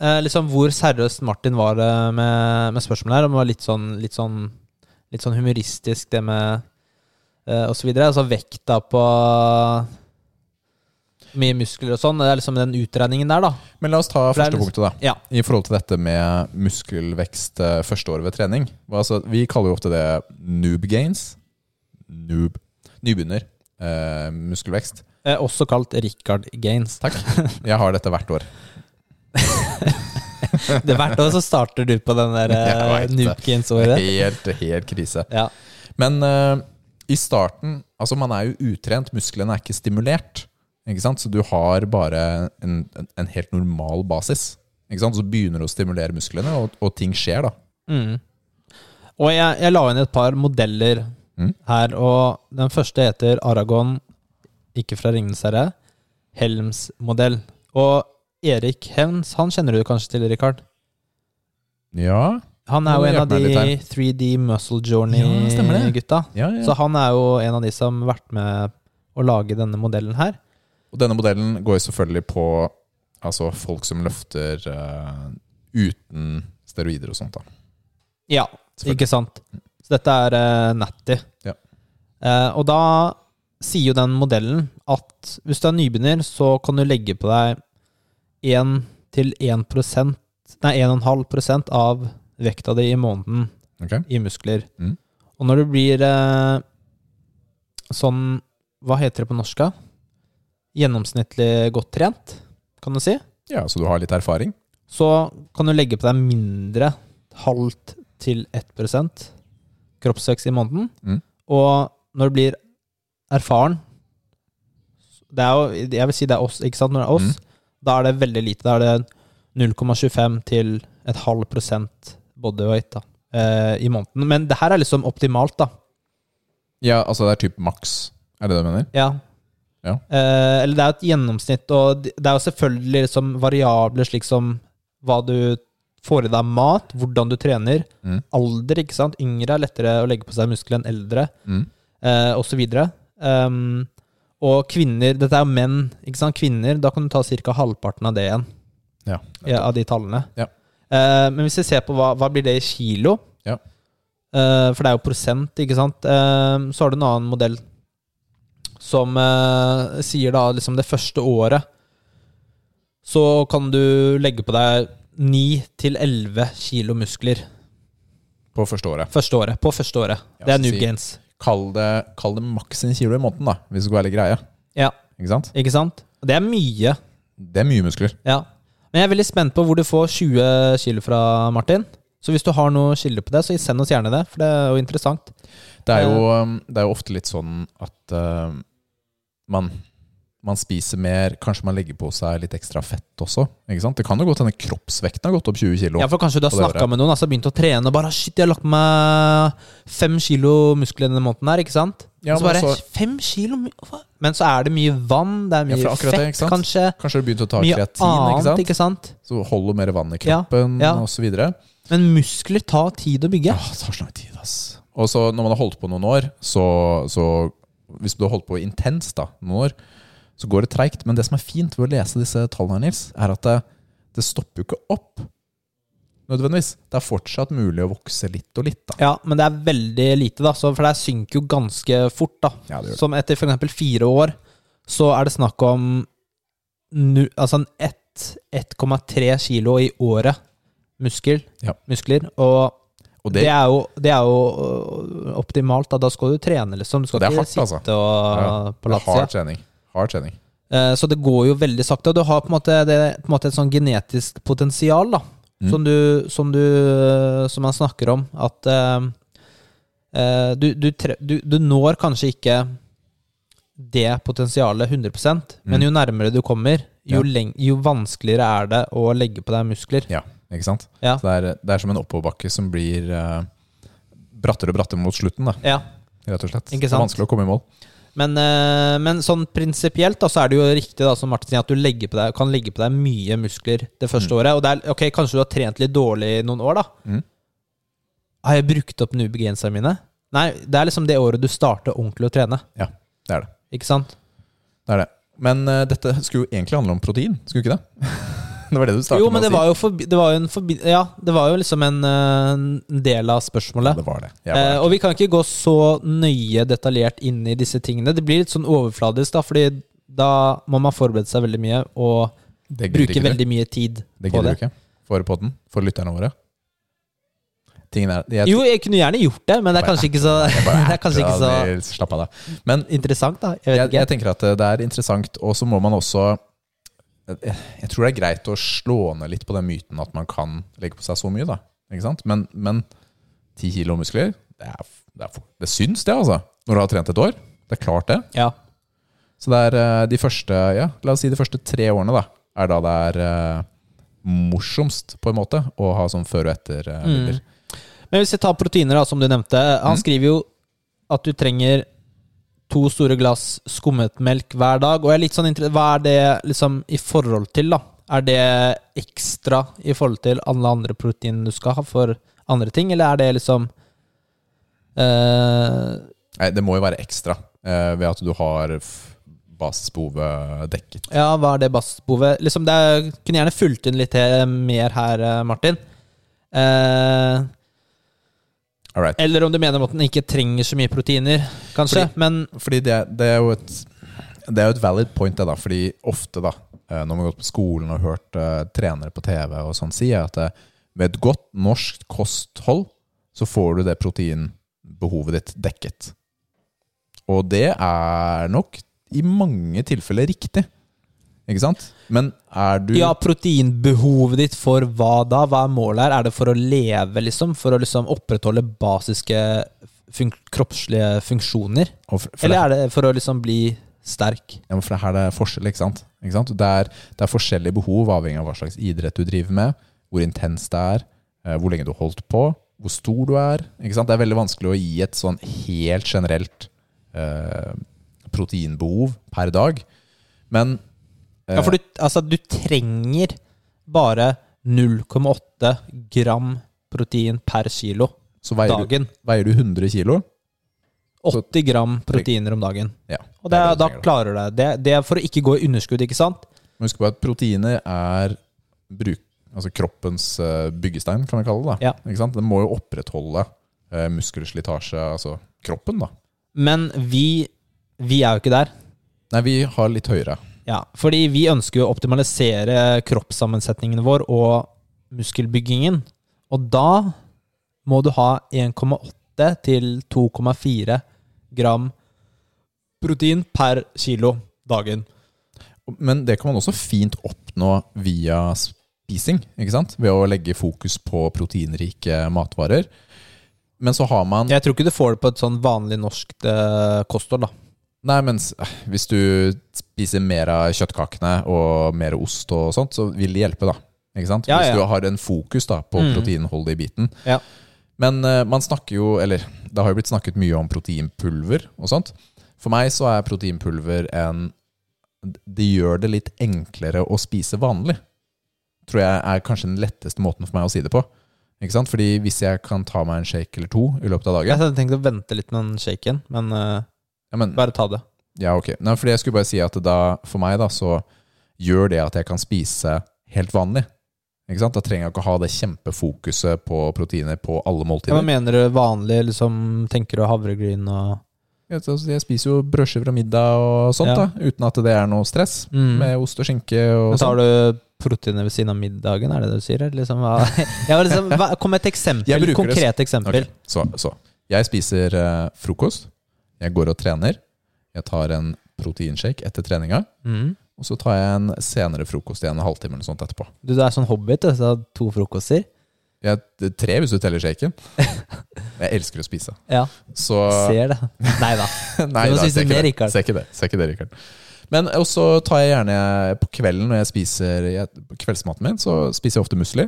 eh, liksom hvor seriøst Martin var eh, med, med spørsmålet her. Om det var litt sånn, litt sånn, litt sånn humoristisk, det med eh, Og så videre. Altså vekta på mye muskler og sånn. Det er liksom den utregningen der, da.
Men la oss ta
For det er
første
litt-
punktet, da.
Ja.
I forhold til dette med muskelvekst eh, første året ved trening. Hva, Altså, vi kaller jo ofte det noob gains. Noob. Nybegynner. Eh, muskelvekst.
Eh, også kalt Richard Gaines.
Takk. Jeg har dette hvert år.
Det er Hvert år så starter du på den der eh,
Jeg vet det.
Noob Gaines-året.
Helt, helt krise.
Ja.
Men eh, i starten Altså, man er jo utrent. Musklene er ikke stimulert. Ikke sant? Så du har bare en, en, en helt normal basis. Ikke sant? Så begynner du å stimulere musklene, og, og ting skjer, da.
Mm. Og jeg, jeg la inn et par modeller
Mm.
her, og den første heter Aragon, ikke fra Ringenes herre, Helms-modell. Og Erik Helms, han kjenner du kanskje til, Rikard?
Ja,
Han er
Nå
jo en av
hjelper meg
de
litt
3D Muscle
Ja, stemmer det.
Journey-gutta.
ja, ja.
Så han er jo en av de som har vært med å lage denne modellen her.
Og denne modellen går jo selvfølgelig på altså, folk som løfter eh, uten steroider og sånt. Da.
Ja,
Selvfølgelig.
ikke sant. Så dette er eh, Natty.
Ja.
Eh, og da sier jo den modellen at hvis du er nybegynner, så kan du legge på deg 1-1 Nei, 1,5 av vekta di i måneden
Ok?
i muskler.
Mm.
Og når du blir eh, sånn Hva heter det på norsk? da? Gjennomsnittlig godt trent, kan du si.
Ja, Så du har litt erfaring?
Så kan du legge på deg mindre, halvt til 1 kroppsvekst i måneden.
Mm.
Og når du blir erfaren det er jo, Jeg vil si det er oss, ikke sant? Når det er oss, da er det veldig lite. Da er det 0,25 til et halv prosent bodyweight da, eh, i måneden. Men det her er liksom optimalt, da.
Ja, altså det er typ maks, er det det du mener?
Ja.
Ja.
Eh, eller det er jo et gjennomsnitt, og det det er jo selvfølgelig liksom variabler slik som hva du får i deg av mat, hvordan du trener,
Mm.
alder, ikke sant? Yngre er lettere å legge på seg muskler enn eldre,
Mm.
eh, osv. Um, og kvinner Dette er jo menn, ikke sant? Kvinner, da kan du ta ca. halvparten av det igjen,
Ja.
ja, av de tallene.
Ja.
Eh, men hvis vi ser på hva, hva blir det i kilo,
Ja.
Eh, for det er jo prosent, ikke sant? Eh, så har du en annen modell som eh, sier da liksom det første året så kan du legge på deg 9-11 kilo muskler
På første året.
første året, på første året.
Ja,
det er
så
New
si-
Gains.
Kall det, kall det maks en kilo i måneden, da, hvis du skal være litt greie.
Ja,
Ikke sant?
ikke sant? Det er mye.
Det er mye muskler.
Ja. Men jeg er veldig spent på hvor du får 20 kilo fra, Martin. Så hvis du har noe kilde på det, så send oss gjerne det, for det er jo interessant.
Det er jo, um, det er jo ofte litt sånn at um, man, man spiser mer, kanskje man legger på seg litt ekstra fett også. Ikke sant? Det kan jo godt hende kroppsvekten har gått opp 20 kilo.
Ja, for kanskje du har
Og det gjør
snakka med noen, altså begynt å trene og bare Shit, jeg har lagt på meg fem kilo muskler denne måneden her, ikke sant?
Ja,
så bare
men så-
Fem kilo? mu- hva? Men så er det mye vann, det er
Ja,
mye
for akkurat det,
fett,
ikke sant?
kanskje.
Kanskje du begynte å ta
Mye
kreatin, ikke
annet,
sant?
ikke sant?
så holder mer vann i
Ja,
kroppen
ja.
og så videre.
Men muskler tar tid å bygge.
Åh, det tar så lang tid, ass. Og så når man har holdt på noen år, så, så Hvis du har holdt på intenst da, noen år, så går det treigt. Men det som er fint ved å lese disse tallene her, Nils, er at det, det stopper jo ikke opp. Nødvendigvis. Det er fortsatt mulig å vokse litt og litt, da.
Ja, men det er veldig lite, da. Så, for det synker jo ganske fort, da.
Ja, det gjør det.
Som etter f.eks. fire år, så er det snakk om nu, altså en ett- 1,3 kilo i året muskel,
Ja.
muskler. Og
Og
det,
det,
er jo, det er jo øh, optimalt, da. Da skal du trene, liksom. Du skal
Det er
ikke
hardt, altså.
sitte og
Ja,
på latsia.
hard trening. Hard trening.
Eh, Så det går jo veldig sakte. Og du har på en måte, det, er på en måte et sånn genetisk potensial, da.
Mm.
Som, du, som du eh, Som man snakker om. At eh, eh, du, du, tre- du, du når kanskje ikke det potensialet 100 men
Mm.
jo nærmere du kommer,
Ja.
jo, leng, jo vanskeligere er det å legge på deg muskler.
Ja, ikke sant?
Ja.
Så det, er, det er som en oppoverbakke som blir eh, brattere og brattere mot slutten, da,
Ja.
rett og slett.
Ikke
Det er
sant?
Vanskelig å komme i mål.
Men, eh, men sånn prinsipielt da, så er det jo riktig da, som Martin sier, at du legger på deg, kan legge på deg mye muskler det første året. Og det er, ok, kanskje du har trent litt dårlig noen år, da.
Mm.
Har jeg brukt opp nubegrenserne mine? Nei, det er liksom det året du starter ordentlig å trene.
Ja, det er det.
Ikke sant?
Det er det. Men eh, dette skulle jo egentlig handle om protein, skulle ikke det? det var det du startet
Jo, men det
med å si.
var jo, forbi, det var jo en forbi... Ja, det var jo liksom en, eh, en del av
Ja,
spørsmålet.
det var det. Jeg var
Eh, og vi kan ikke gå så nøye detaljert inn i disse tingene. Det blir litt sånn overfladisk, da, fordi da må man forberede seg veldig mye og
det gidder
bruke
ikke
veldig mye tid
du. Det
på
gidder
det.
du ikke. For podden, for lytterne våre. Tingen er jeg,
Jo, jeg kunne gjerne gjort det, men det er
Bare
kanskje ikke så, det er kanskje ikke så
Ja, Nils, Slapp av, da. Men
interessant, da. Jeg
jeg,
vet
jeg
ikke.
tenker at eh, det er interessant, og så må man også jeg, jeg tror det er greit å slå ned litt på den myten at man kan legge på seg så mye, da. Ikke sant? Men, men 10 kilo muskler, det, er, det, er, for- det syns det, altså. Når du har trent et år. Det er klart, det.
Ja.
Så det er eh, de første, ja, la oss si de første tre årene da, er da det er eh, morsomst på en måte å ha sånn før og etter eh, bilder.
Men hvis jeg tar proteiner, da, som du nevnte.
Mm.
Han skriver jo at du trenger to store glass skummet melk hver dag. Og jeg er litt sånn inter- Hva er det liksom i forhold til, da? Er det ekstra i forhold til alle andre proteiner du skal ha for andre ting, eller er det liksom eh,
Nei, det må jo være ekstra eh, ved at du har f- basisbehovet dekket.
Ja, hva er det bassbehovet? Liksom, det er, kunne gjerne fulgt inn litt her, mer her, eh, Martin. Eh,
All right.
eller om du mener at den ikke trenger så mye proteiner, kanskje. men
Fordi det, det er jo et det er jo et valid point, det da, fordi ofte, da, eh, når man har gått på skolen og hørt eh, trenere på TV og sånn si, at eh, med et godt norsk kosthold, så får du det proteinbehovet ditt dekket. Og det er nok i mange tilfeller riktig. Ikke sant? Men er du
ja, proteinbehovet ditt for hva da? Hva er målet her? Er det for å leve, liksom? For å liksom opprettholde basiske fun kroppslige funksjoner?
og for, for det,
Eller er det for å liksom bli sterk?
ja, men for det her er det forskjell, ikke sant? Ikke sant? Det, er, det er forskjellige behov avhengig av hva slags idrett du driver med, hvor intens det er, eh, hvor lenge du har holdt på, hvor stor du er. Ikke sant? Det er veldig vanskelig å gi et sånn helt generelt eh, proteinbehov per dag. Men Eh.
Ja, for du, altså, du trenger bare 0,8 gram protein per kilo
så veier du,
dagen.
veier du 100 kilo.
80 gram proteiner om dagen.
Ja,
Og
det
det,
er det
er-
du
da
trenger, da.
klarer du det. det. Det er for å ikke gå i underskudd, ikke sant?
Men husk på at proteiner er bruk, altså kroppens eh, byggestein, kan vi kalle det. Da.
Ja.
Ikke sant? Den må jo opprettholde eh, muskelslitasje, altså kroppen. da.
Men vi, vi er jo ikke der.
Nei, vi har litt høyere.
Ja, fordi vi ønsker jo å optimalisere kroppssammensetningen vår og muskelbyggingen. Og da må du ha 1,8 til 2,4 gram protein per kilo dagen.
Men det kan man også fint oppnå via spising, ikke sant? Ved å legge fokus på proteinrike matvarer. Men så har man
Jeg tror ikke du får det på et sånn vanlig norsk eh, kosthold, da.
Nei, men s- eh, hvis du spiser mer av kjøttkakene og mer ost og sånt, så vil det hjelpe, da. Ikke sant?
Ja,
Hvis
ja.
du har en fokus da, på
Mm.
proteinholdig biten.
Ja.
Men eh, man snakker jo, eller det har jo blitt snakket mye om proteinpulver og sånt. For meg så er proteinpulver en Det gjør det litt enklere å spise vanlig. Tror jeg er kanskje den letteste måten for meg å si det på. Ikke sant? Fordi hvis jeg kan ta meg en shake eller to i løpet av
Jeg
dagen
hadde tenkt å vente litt med den shaken, men eh,
ja, men,
bare ta det.
Ja, ok. Nei, fordi jeg skulle bare si at det da, for meg da, så gjør det at jeg kan spise helt vanlig. Ikke sant? Da trenger jeg ikke å ha det kjempefokuset på proteiner på alle
Hva
måltider.
mener du vanlig? Liksom, tenker du havregryn og
Ja, så jeg spiser jo brødskiver og middag og sånt,
Ja.
da, uten at det er noe stress.
Men
Med ost og skinke og
så har
sånn.
du proteiner ved siden av middagen, er det det du sier? eller Liksom, hva? Ja, liksom, hva, kom med et
Jeg
eksempel,
bruker det
konkret eksempel.
Ok, Så, så. Jeg spiser eh, frokost. Jeg går og trener. Jeg tar en proteinshake etter treninga.
Mm.
Og så tar jeg en senere frokost igjen en halvtime eller noe sånt etterpå.
Du, du er sånn hobbit, du, så du har to frokoster.
Jeg, tre hvis du teller shaken. Jeg elsker å spise.
Ja,
Så
ser det. Nei da.
Nei,
Du må
da,
spise
ser ikke
mer,
det.
Rikard.
Ser ikke det. Ser ikke det, Rikard. Men også tar jeg gjerne på kvelden når jeg spiser jeg, på kveldsmaten min, så spiser jeg ofte musli.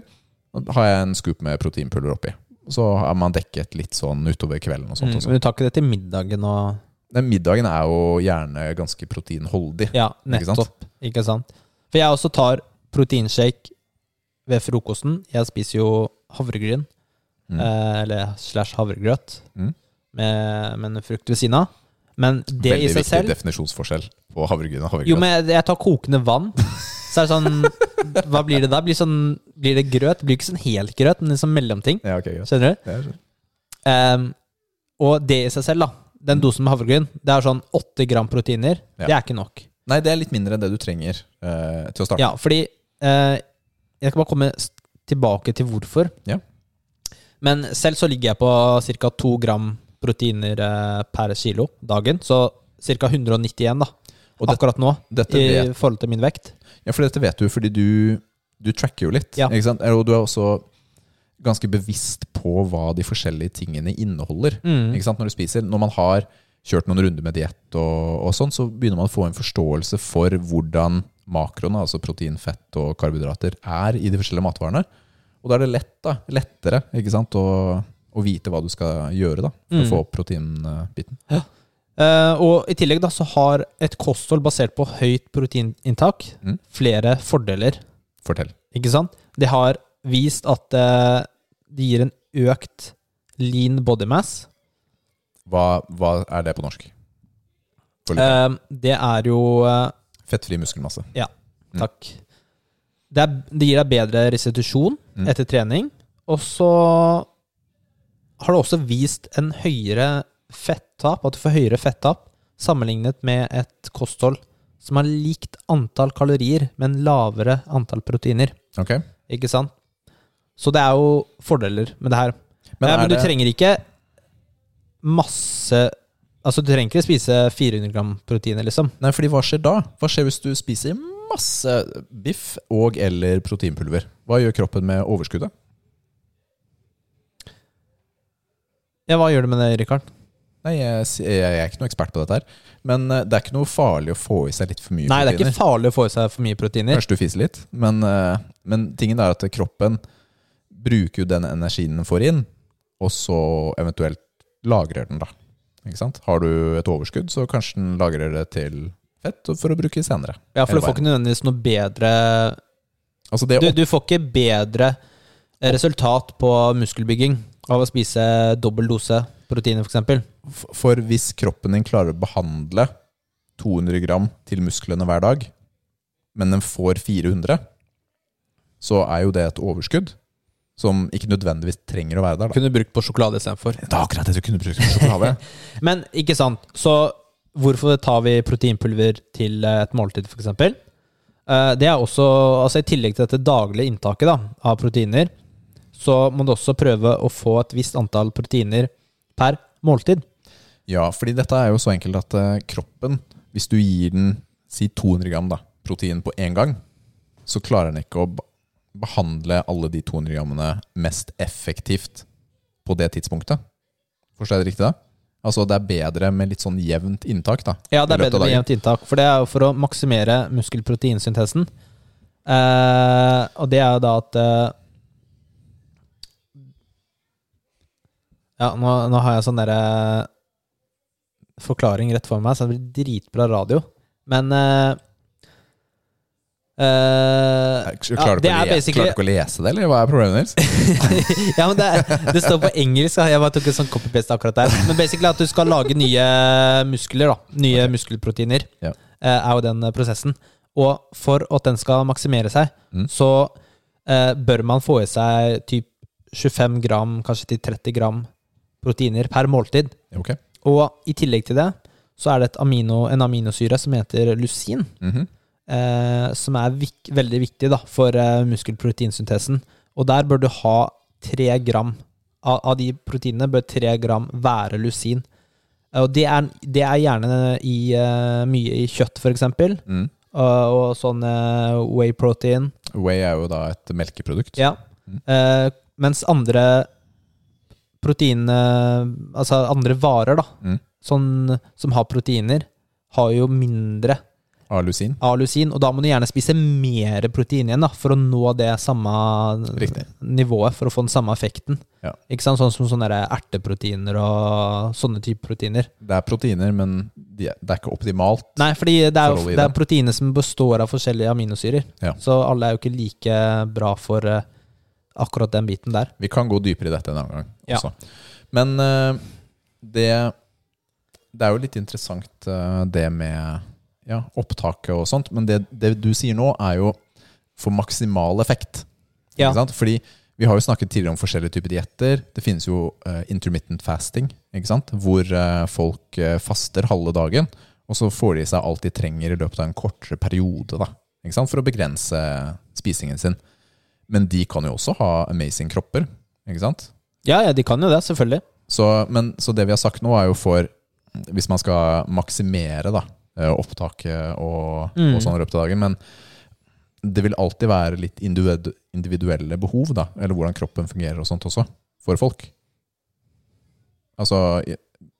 Da har jeg en scoop med proteinpulver oppi. Så er man dekket litt sånn utover kvelden og
Mm,
sånt. og
men
sånt.
du tar ikke det til middagen og
Den middagen er jo gjerne ganske proteinholdig.
Ja,
Ikke sant?
nettopp. Ikke sant? For jeg også tar proteinshake ved frokosten. Jeg spiser jo havregryn,
Mm.
eh, eller slash havregrøt,
Mm.
med, med en frukt ved siden av. Men det
Veldig
i seg
viktig
selv
definisjonsforskjell på havregryn og havregrøt.
Jo, men jeg- jeg tar kokende vann. Så er det sånn Hva blir det da? Blir, sånn, blir det grøt? Blir ikke sånn helt grøt, men liksom mellomting.
Ja, ok, greit.
Skjønner du?
Det er sånn.
Ehm, og det i seg selv, da. Den dosen med havregryn, det er sånn åtte gram proteiner.
Ja.
Det er ikke nok.
Nei, det er litt mindre enn det du trenger eh, til å starte.
Ja, fordi eh, Jeg skal bare komme s- tilbake til hvorfor.
Ja.
Men selv så ligger jeg på ca. 2 gram proteiner eh, per kilo dagen. Så ca. 191 da,
Og det-
akkurat nå,
Dette
i
vet
forhold til min vekt.
Ja, for dette vet du fordi du, du tracker jo litt.
Ja.
Ikke sant? Og du er også ganske bevisst på hva de forskjellige tingene inneholder
Mm.
ikke sant? når du spiser. Når man har kjørt noen runder med diett og, og sånn, så begynner man å få en forståelse for hvordan makroene, altså protein, fett og karbohydrater, er i de forskjellige matvarene. Og da er det lett, da, lettere ikke sant? Å, å vite hva du skal gjøre da, for
Mm.
å få opp proteinbiten.
Eh, og i tillegg da, så har et kosthold basert på høyt proteininntak
Mm.
flere fordeler.
Fortell.
Ikke sant? Det har vist at eh, det gir en økt lean body mass.
Hva, hva er det på norsk? For litt.
Eh, det er jo eh,
Fettfri muskelmasse. Mm.
Takk. Det, er, det gir deg bedre restitusjon
Mm.
etter trening. Og så har det også vist en høyere fettap, at du får høyere fettap sammenlignet med et kosthold som har likt antall kalorier, men lavere antall proteiner.
Ok?
Ikke sant? Så det er jo fordeler med det her. Men,
er
men du
det-
trenger ikke masse Altså, du trenger ikke spise 400 gram proteiner, liksom.
Nei, fordi hva skjer da? Hva skjer hvis du spiser masse biff og eller proteinpulver? Hva gjør kroppen med overskuddet?
Ja, hva gjør du med det, Rikard?
Nei, jeg, s- jeg er ikke noe ekspert på dette her. Men eh, det er ikke noe farlig å få i seg litt for mye
Nei, det er
proteiner.
ikke farlig å få i seg for mye proteiner.
Kanskje du fiser litt. Men, eh, men tingen er at kroppen bruker jo den energien den får inn, og så eventuelt lagrer den, da. Ikke sant? Har du et overskudd, så kanskje den lagrer det til fett for å bruke senere.
Ja, for
Hele
du får ikke nødvendigvis noe bedre
Altså det
Du, du får ikke bedre eh, resultat på muskelbygging av å spise dobbel dose proteiner, f.eks.
F- For hvis kroppen din klarer å behandle 200 gram til musklene hver dag, men den får 400, så er jo det et overskudd som ikke nødvendigvis trenger å være der. Da.
Kunne brukt på sjokolade istedenfor.
Det er akkurat det du kunne brukt som sjokolade.
Men ikke sant. Så hvorfor tar vi proteinpulver til eh, et måltid, f.eks.? Det er også, altså I tillegg til dette daglige inntaket da, av proteiner, så må du også prøve å få et visst antall proteiner per måltid.
ja, fordi dette er jo så enkelt at eh, kroppen, hvis du gir den si 200 gram da, protein på én gang, så klarer den ikke å ba- behandle alle de 200 grammene mest effektivt på det tidspunktet. Forstår jeg det riktig da? Altså det er bedre med litt sånn jevnt inntak da.
Ja,
i
det er
løpet av
bedre med
dagen.
jevnt inntak. For det er jo for å maksimere muskelproteinsyntesen. Eh, og det er jo da at eh, Ja, nå, nå har jeg sånn derre forklaring rett for meg, så det blir dritbra radio. Men eh, eh,
Jeg Klarer, du ikke
det
å
er
le-
basically-
klarer du ikke å lese det, eller hva er problemet, Nils?
ja, men det, er- det står på engelsk. da. Jeg bare tok en sånn copy-paste akkurat der. Men basically at du skal lage nye muskler, da. Nye muskelproteiner.
Ja.
eh, Er jo den eh, prosessen. Og for at den skal maksimere seg, så eh, bør man få i seg typ 25 gram, kanskje til 30 gram proteiner per måltid.
Ok.
Og i tillegg til det så er det et amino, en aminosyre som heter lusin
Mhm.
eh, som er vik veldig viktig da, for eh, muskelproteinsyntesen. Og der bør du ha tre gram av, av de proteinene bør tre gram være lusin. Eh, Og det er, det er gjerne i, eh, mye i kjøtt, for eksempel.
Mm.
Og, og sånn eh, whey protein.
Whey er jo da et melkeprodukt.
Ja. Eh, mens andre protein eh, Altså andre varer, da,
Mm.
sånn, som har proteiner, har jo mindre
Alusin.
A-lusin, og da må du gjerne spise mer protein igjen da, for å nå det samme
Riktig.
nivået, for å få den samme effekten.
Ja.
Ikke sant? Sånn som sånne der erteproteiner og sånne type proteiner.
Det er proteiner, men de, er- det er ikke optimalt.
Nei, fordi det er,
Forhold i
det er
det.
proteiner som består av forskjellige aminosyrer,
Ja.
så alle er jo ikke like bra for eh, akkurat den biten der.
Vi kan gå dypere i dette en annen gang
Ja.
også. Men eh, det, det er jo litt interessant eh, det med ja, opptaket og sånt. Men det, det du sier nå, er jo for maksimal effekt.
Ja.
Ikke sant? Fordi vi har jo snakket tidligere om forskjellige typer dietter. Det finnes jo eh, intermittent fasting, ikke sant? hvor eh, folk eh, faster halve dagen, og så får de i seg alt de trenger i løpet av en kortere periode da, ikke sant? for å begrense eh, spisingen sin. Men de kan jo også ha amazing kropper, ikke sant?
Ja, ja, de kan jo det, selvfølgelig.
Så, men, så det vi har sagt nå er jo for Hvis man skal maksimere da, eh, opptaket og,
Mm.
og sånn i løpet av dagen Men det vil alltid være litt individu- individuelle behov, da. Eller hvordan kroppen fungerer og sånt også, for folk. Altså jeg,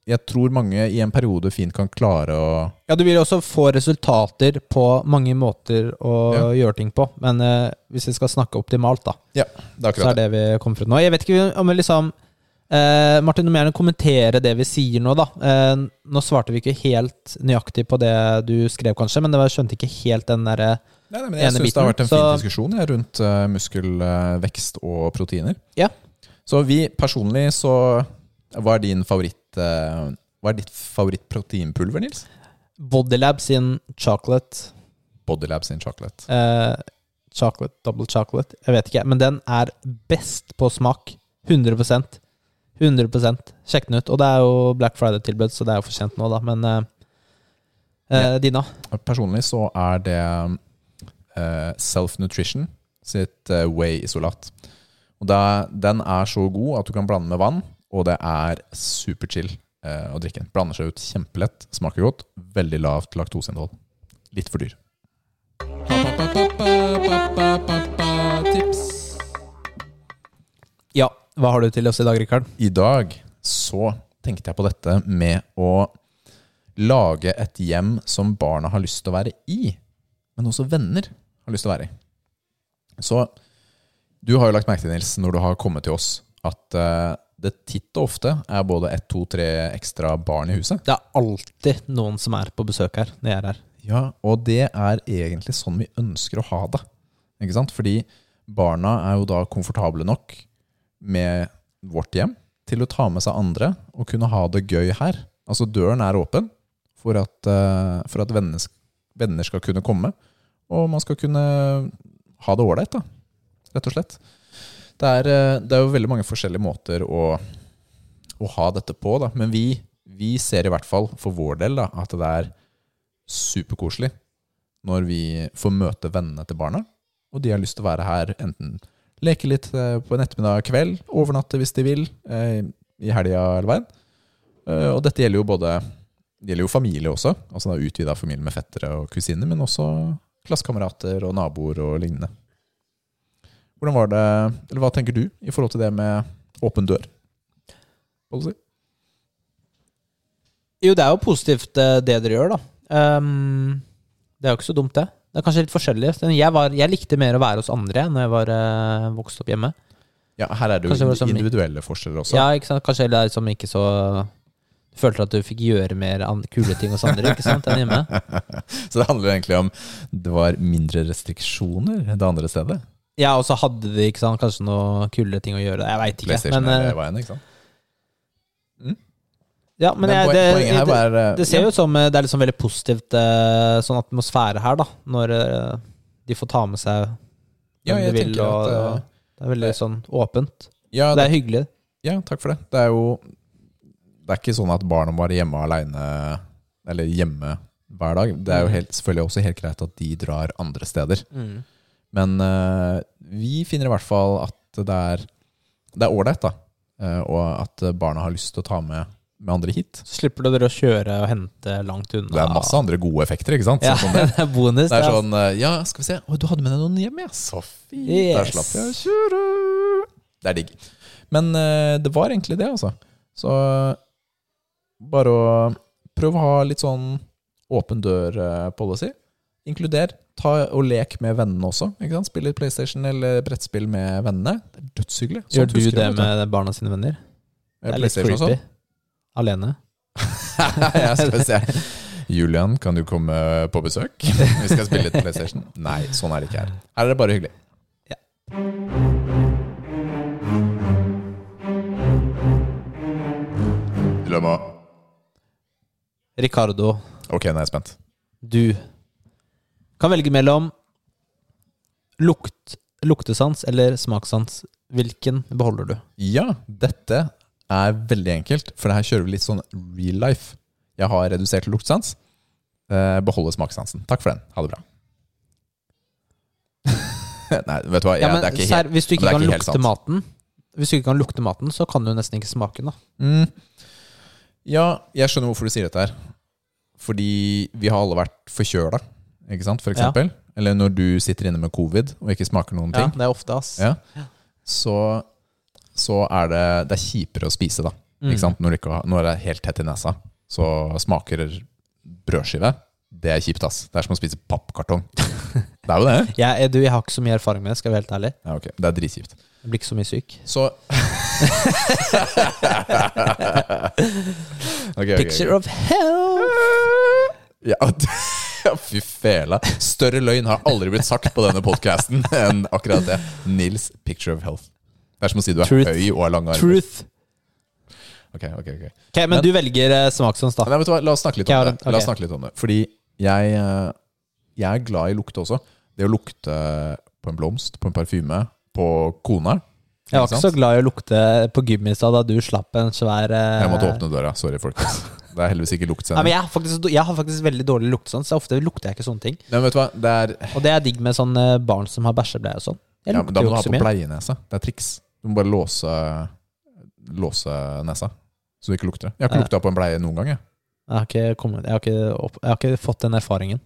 jeg tror mange i en periode fint kan klare å
Ja, du vil jo også få resultater på mange måter å gjøre ting på, men eh, hvis vi skal snakke optimalt da,
Ja, det er
Så er
akkurat det.
det vi kom fra nå. Jeg vet ikke om vi liksom eh, Martin, du må gjerne kommentere det vi sier nå, da. Eh, nå svarte vi ikke helt nøyaktig på det du skrev, kanskje, men det var, jeg skjønte ikke helt den derre
Nei, nei, men jeg
ene
syns det har
biten,
vært en fin
så-
diskusjon jeg, rundt eh, muskelvekst og proteiner.
Ja.
Så vi personlig, så Hva er din favoritt eh, Hva er ditt favorittproteinpulver, Nils?
Bodylab sin chocolate
Bodylab sin chocolate.
eh, Chocolate, double chocolate, jeg vet ikke, men den er best på smak. 100 100 Sjekk den ut. Og det er jo Black Friday-tilbud, så det er jo for sent nå, da, men eh, eh, Dina?
Personlig så er det eh, Self Nutrition sitt eh, Whey-isolat. Og da- Den er så god at du kan blande med vann, og det er superchill eh, å drikke. den. Blander seg ut kjempelett, smaker godt. Veldig lavt laktoseinnhold. Litt for dyr.
Ja, hva har du til oss i dag, Rikard?
I dag så tenkte jeg på dette med å lage et hjem som barna har lyst til å være i, men også venner har lyst til å være i. Så du har jo lagt merke til, Nils, når du har kommet til oss, at eh, det titt og ofte er både ett, to, tre ekstra barn i huset.
Det er alltid noen som er på besøk her når jeg er her.
Ja, og det er egentlig sånn vi ønsker å ha det. Ikke sant? Fordi barna er jo da komfortable nok med vårt hjem til å ta med seg andre og kunne ha det gøy her. Altså døren er åpen for at, eh, for at venner, sk- venner skal kunne komme, og man skal kunne ha det ålreit, da. Rett og slett. Det er, eh, det er jo veldig mange forskjellige måter å, å ha dette på, da. Men vi, vi ser i hvert fall for vår del da, at det er superkoselig når vi får møte vennene til barna, og de har lyst til å være her enten leke litt eh, på en ettermiddag kveld, overnatte hvis de vil, eh, i helga eller veien. Eh, Og dette gjelder jo både Det gjelder jo familie også. Altså da utvida familie med fettere og kusiner, men også klassekamerater og naboer og lignende. Hvordan var det, eller Hva tenker du i forhold til det med åpen dør? Hva skal du si?
Jo, det er jo positivt eh, det dere gjør, da. Ehm, det er jo ikke så dumt, det. Det er kanskje litt forskjellig. Men Jeg, var, jeg likte mer å være hos andre når jeg var eh, vokst opp hjemme.
Ja, Her er det jo
Kanskje det var som-
individuelle forskjeller også.
Ja, ikke sant? Kanskje det er liksom ikke så Følte at du fikk gjøre mer an- kule ting hos andre ikke sant, enn hjemme.
Så det handler jo egentlig om det var mindre restriksjoner det andre stedet.
Ja, og så hadde de ikke sant, kanskje noe kule ting å gjøre. Jeg veit ikke.
PlayStation
Men,
er
eh,
veien, ikke sant?
ja, men
poen-
jeg, det,
poenget her
det,
var eh,
det ser jo ut som eh, det er liksom veldig positivt eh, sånn atmosfære her, da. Når eh, de får ta med seg
Ja,
hvem
jeg
de vil.
tenker
Og,
at, eh,
og det er veldig sånn åpent.
ja,
Det er hyggelig.
Ja, takk for det. Det er jo Det er ikke sånn at barna må være hjemme alene eller hjemme hver dag. Det
Mm.
er jo helt, selvfølgelig også helt greit at de drar andre steder. Men eh, vi finner i hvert fall at det er Det er ålreit, da. Eh, og at barna har lyst til å ta med, med andre hit.
Så slipper dere å kjøre og hente langt unna.
Det er masse andre gode effekter, ikke sant?
Ja,
Sånn som
det er bonus.
Det er
det, altså.
sånn eh, Ja, skal vi se. Å, du hadde med deg noen hjem, ja. Så fint. Der
Yes.
slapp jeg å kjøre. Det er digg. Men eh, det var egentlig det, altså. Så bare å prøve å ha litt sånn åpen dør-policy. Inkluder. Ta og lek med vennene også. Ikke sant? Spille litt PlayStation eller brettspill med vennene. Det er dødshyggelig. Sånt
Gjør du
husker
det
jeg, vet
med barna sine venner?
Eh,
Det er litt
PlayStation og sånn.
creepy. Alene.
jeg skal se. Julian, kan du komme på besøk? Vi skal spille litt PlayStation. Nei, sånn er det ikke her. Her er det bare hyggelig.
Ja.
Dilemma.
Ricardo,
Ok, nå er jeg spent.
du kan velge mellom lukt, luktesans eller smakssans. Hvilken beholder du?
Ja, dette er veldig enkelt, for her kjører vi litt sånn real life. Jeg har redusert luktsans. Eh, Beholder smakssansen. Takk for den. Ha det bra. Nei, vet du hva. Jeg,
Ja, men,
det er ikke helt
serr, hvis du
men det
ikke
er
kan
ikke helt
lukte
sant.
maten Hvis du ikke kan lukte maten, så kan du nesten ikke smake den. da.
Mm. Ja, jeg skjønner hvorfor du sier dette her. Fordi vi har alle vært forkjøla, ikke sant, for
Ja.
eksempel. Eller når du sitter inne med covid og ikke smaker noen
Ja,
ting,
det er ofte, ass.
Ja. så, så er det, det er kjipere å spise, da.
Mm.
Ikke sant? Når, du ikke, har- når det er helt tett i nesa, så smaker brødskive. Det er kjipt, ass. Det er som å spise pappkartong. Det er jo det.
Jeg, du, jeg har ikke så mye erfaring med det, skal jeg være helt ærlig.
Ja, ok. Det er dritkjipt.
Jeg blir ikke så mye syk.
Så Ok, ok, ok.
Picture of hell!
Ja, d- ja, fy fela. Større løgn har aldri blitt sagt på denne podkasten enn akkurat det. Nils Picture of Health. Det er som å si du er
Truth.
høy og har lange armer.
Truth!
Ok, ok, ok.
Ok, Men,
Men-
du velger eh, smaksans, da.
Nei, vet du hva? La oss snakke litt
Jeg
om
har
det.
en-
La oss
ok.
snakke litt om det. Fordi jeg, eh, jeg er glad i lukte også. Det å lukte på en blomst, på en parfyme, på kona.
Jeg
Ikke
var ikke
sant?
så glad i å lukte på gym i stad da du slapp en svær eh,
Jeg måtte åpne døra. Sorry, folkens. Det er heldigvis ikke
Nei, men
luktsending.
jeg, har faktisk, jeg har faktisk veldig dårlig luktesans. så Ofte lukter jeg ikke sånne ting.
Nei, men vet du hva? Det er
Og det er digg med sånne barn som har bæsjebleie og sånn. Jeg
Ja, men da må
lukter jo
du ha
ikke
på
så mye.
pleienese. Det er triks. Du må bare låse, låse nesa, så du ikke lukter det. Jeg har ikke
Ja.
lukta på en pleie noen gang. Jeg.
Jeg har ikke, kommet, jeg har ikke, opp, jeg har ikke fått den erfaringen.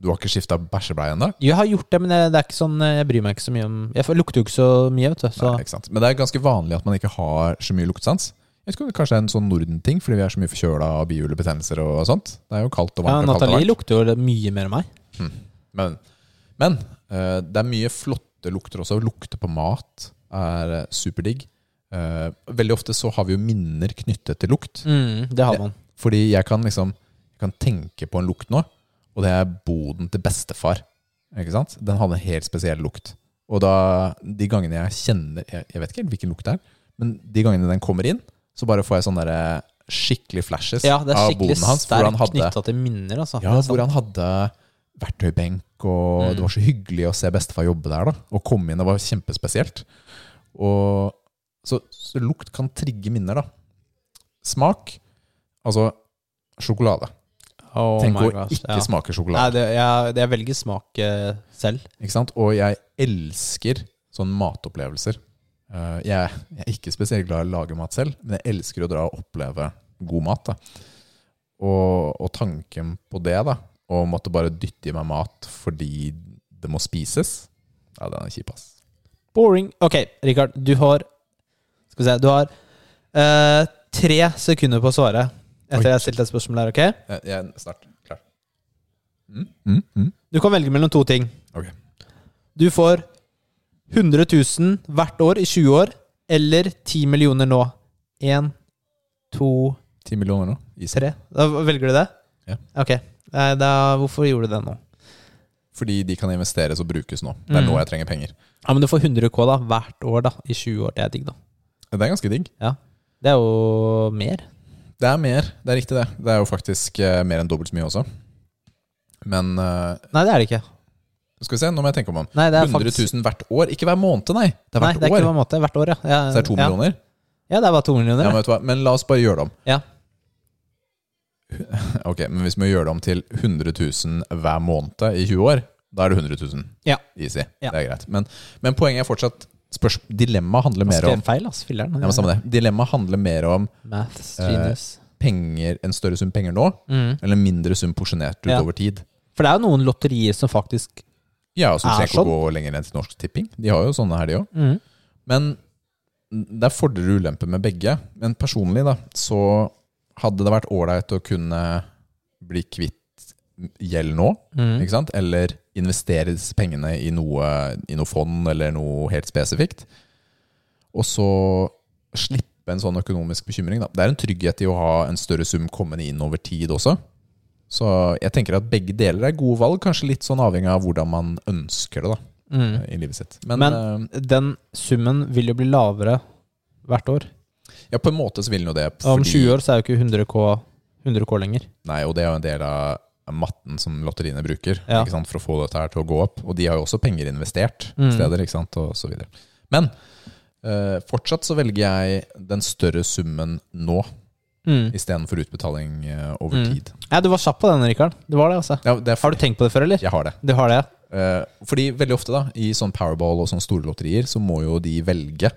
Du har ikke skifta bæsjebleie ennå?
Jo, Jeg har gjort det, men det, det er ikke sånn, eh, jeg bryr meg ikke så mye om Jeg får- lukter jo ikke så mye, vet du. Så
Nei, ikke sant. Men det er ganske vanlig at man ikke har så mye luktesans. Jeg vet ikke om det kanskje er en sånn Norden-ting, fordi vi er så mye forkjøla og bihulebetennelser og sånt. Det er jo kaldt og
ja,
varmt. og kaldt og
Nathalie
varmt.
lukter jo mye mer enn meg.
Men, men eh, det er mye flotte lukter også. Lukte på mat er eh, superdigg. Eh, veldig ofte så har vi jo minner knyttet til lukt.
Mm, det har
Ja.
man.
Fordi jeg kan liksom jeg kan tenke på en lukt nå, og det er boden til bestefar. Ikke sant? Den hadde en helt spesiell lukt. Og da, de gangene jeg kjenner Jeg, jeg vet ikke helt hvilken lukt det er, men de gangene den kommer inn, så bare får jeg sånne der eh, skikkelig flashes
Ja, det er
av
skikkelig
boden hans. Hvor han
sterkt
hadde,
knytta til minner, altså.
ja,
Det er sant. Mm.
hvor han hadde verktøybenk, og det var så hyggelig å se bestefar jobbe der. da Å komme inn, det var kjempespesielt. Og, så, så lukt kan trigge minner, da. Smak, altså sjokolade.
Oh
Tenk
my
å
gosh,
ikke
ja.
smake
Nei,
sjokolade.
det, jeg, jeg velger smak eh, selv.
Ikke sant? Og jeg elsker sånne matopplevelser. Eh, Jeg, jeg er ikke spesielt glad i å lage mat selv, men jeg elsker å dra og oppleve god mat. Da. Og, og tanken på det, da, å måtte bare dytte i meg mat fordi det må spises, ja, den er kjip, ass.
Boring. Ok, Richard, du har Skal vi se, du har eh, tre sekunder på å svare etter
Oi.
jeg har stilt et spørsmål her, ok?
Jeg, jeg er snart klar. Mm, mm, mm.
Du kan velge mellom to ting.
Ok.
Du får 100 000 hvert år i 20 år, eller 10 millioner nå. Én, to,
Ti millioner nå. Is.
tre. Da velger du det?
Ja.
Ok. Eh, Da, hvorfor gjorde du det nå?
Fordi de kan investeres og brukes nå. Det er
Mm.
nå jeg trenger penger.
Ja, men du får 100 K da, hvert år da, i 20 år. Det er digg, da.
Det er ganske digg.
Det er jo mer.
Det er mer. Det er riktig, det. Det er jo faktisk eh, mer enn dobbelt så mye også. Men eh,
Nei, det er det ikke.
skal vi se, nå må jeg tenke om ham.
Nei, det er
100
faktisk
000 hvert år. Ikke hver måned, nei. Det er
Nei,
hvert
det er
år.
ikke hver måte. Hvert år, ja. ja
Så det er to
ja.
millioner?
Ja, det er bare to millioner.
Ja,
Ja,
men, vet du hva? men la oss bare gjøre det om.
Ja.
Ok, men hvis vi må gjøre det om til 100 000 hver måned i 20 år, da er det 100 000.
Ja.
Easy.
Ja.
Det er greit. Men, men poenget er fortsatt spørs- Dilemmaet handler mer om
Skrev feil, ass. Filler'n.
ja, men samme det. Eh, Dilemmaet handler mer om
Maths genius.
penger, en større sum penger nå,
Mm.
eller en mindre sum porsjonert ut
Ja.
over tid.
For det er jo noen lotterier som faktisk
Ja, og som
Er sånn.
trenger ikke å gå lenger enn til Norsk Tipping. De har jo sånne her, de òg.
mm.
Men det er fordeler og ulemper med begge. Men personlig da, så hadde det vært ålreit å kunne bli kvitt gjeld nå,
Mm.
ikke sant? eller investere disse pengene i noe, i noe fond eller noe helt spesifikt. Og så slippe en sånn økonomisk bekymring. Da. Det er en trygghet i å ha en større sum kommende inn over tid også. Så jeg tenker at begge deler er gode valg, kanskje litt sånn avhengig av hvordan man ønsker det da,
Mm.
i livet sitt. Men,
Men-
eh,
Den summen vil jo bli lavere hvert år.
Ja, på en måte så vil den jo det.
Og om 20 år så er jo ikke 100 K 100 K lenger.
Nei, og det er jo en del av av matten som lotteriene bruker
Ja.
ikke sant, for å få dette her til å gå opp. Og de har jo også penger investert
Mm.
steder, ikke sant, og så videre. Men eh, fortsatt så velger jeg den større summen nå
Mm.
istedenfor utbetaling eh, over
Mm.
tid.
Ja, du var kjapp på den, Rikard. Det var det, altså.
Ja, det er
Har du tenkt på det før, eller?
Jeg har det.
Du har det?
Eh, fordi veldig ofte da, i sånn Powerball og sånne store lotterier, så må jo de velge.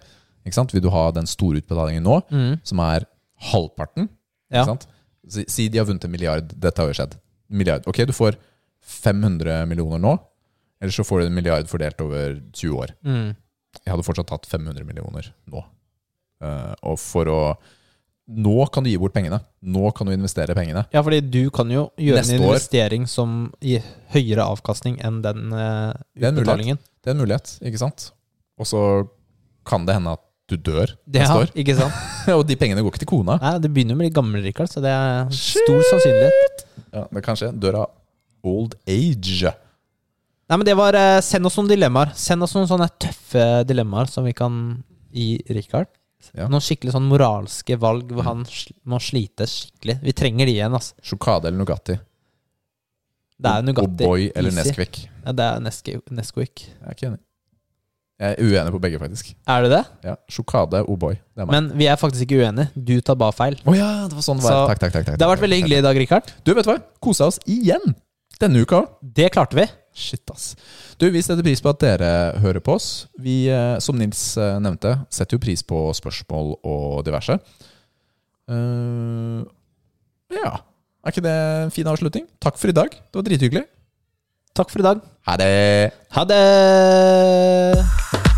Ikke sant? Vil du ha den store utbetalingen nå,
Mm.
som er halvparten?
Ja.
Ikke sant? Si, si de har vunnet en milliard. Dette har jo skjedd. Milliard. Ok, du får 500 millioner nå, eller så får du en milliard fordelt over 20 år.
Mm.
Jeg hadde fortsatt tatt 500 millioner nå. Eh, og for å Nå kan du gi bort pengene. Nå kan du investere pengene.
Ja, fordi du kan jo gjøre
Neste
en
år.
investering som gir høyere avkastning enn den eh,
Det er en mulighet.
utbetalingen.
Det er en mulighet, ikke sant? Og så kan det hende at du dør
Det
neste
ja,
år.
ikke sant?
og de pengene går ikke til kona.
Nei, det begynner med de gamle, Rikard, så det er stor
Shit!
sannsynlighet.
Ja, det kan skje. Dør av old age.
Nei, men det var eh, Send oss noen dilemmaer. Send oss noen sånne tøffe dilemmaer som vi kan gi Rikard.
Ja. Mm.
Noen skikkelig sånn moralske valg hvor han sl må slite skikkelig. Vi trenger de igjen, altså.
Sjokade eller Nugatti. Oh,
Det er Nugatti.
O'boy eller
Easy.
Nesquik.
Ja, det er Nesqu- Nesquik.
Jeg er ikke enig. Jeg er uenig på begge, faktisk.
Er du det?
Ja, Sjokade, O'boy. Det er meg.
Men vi er faktisk ikke uenige. Du tar bare feil.
Å ja, det var sånn det
Så-
var. Takk, takk, takk, takk.
Det har vært veldig hyggelig i dag, Rikard.
Du, vet du hva? Kosa oss igjen denne uka òg.
Det klarte vi.
Shit, ass. Du, vi setter pris på at dere hører på oss. Vi, eh, som Nils eh, nevnte, setter jo pris på spørsmål og diverse. Eh, ja. Er ikke det en fin avslutning? Takk for i dag. Det var drithyggelig.
Takk for i dag.
Ha det!
Ha det!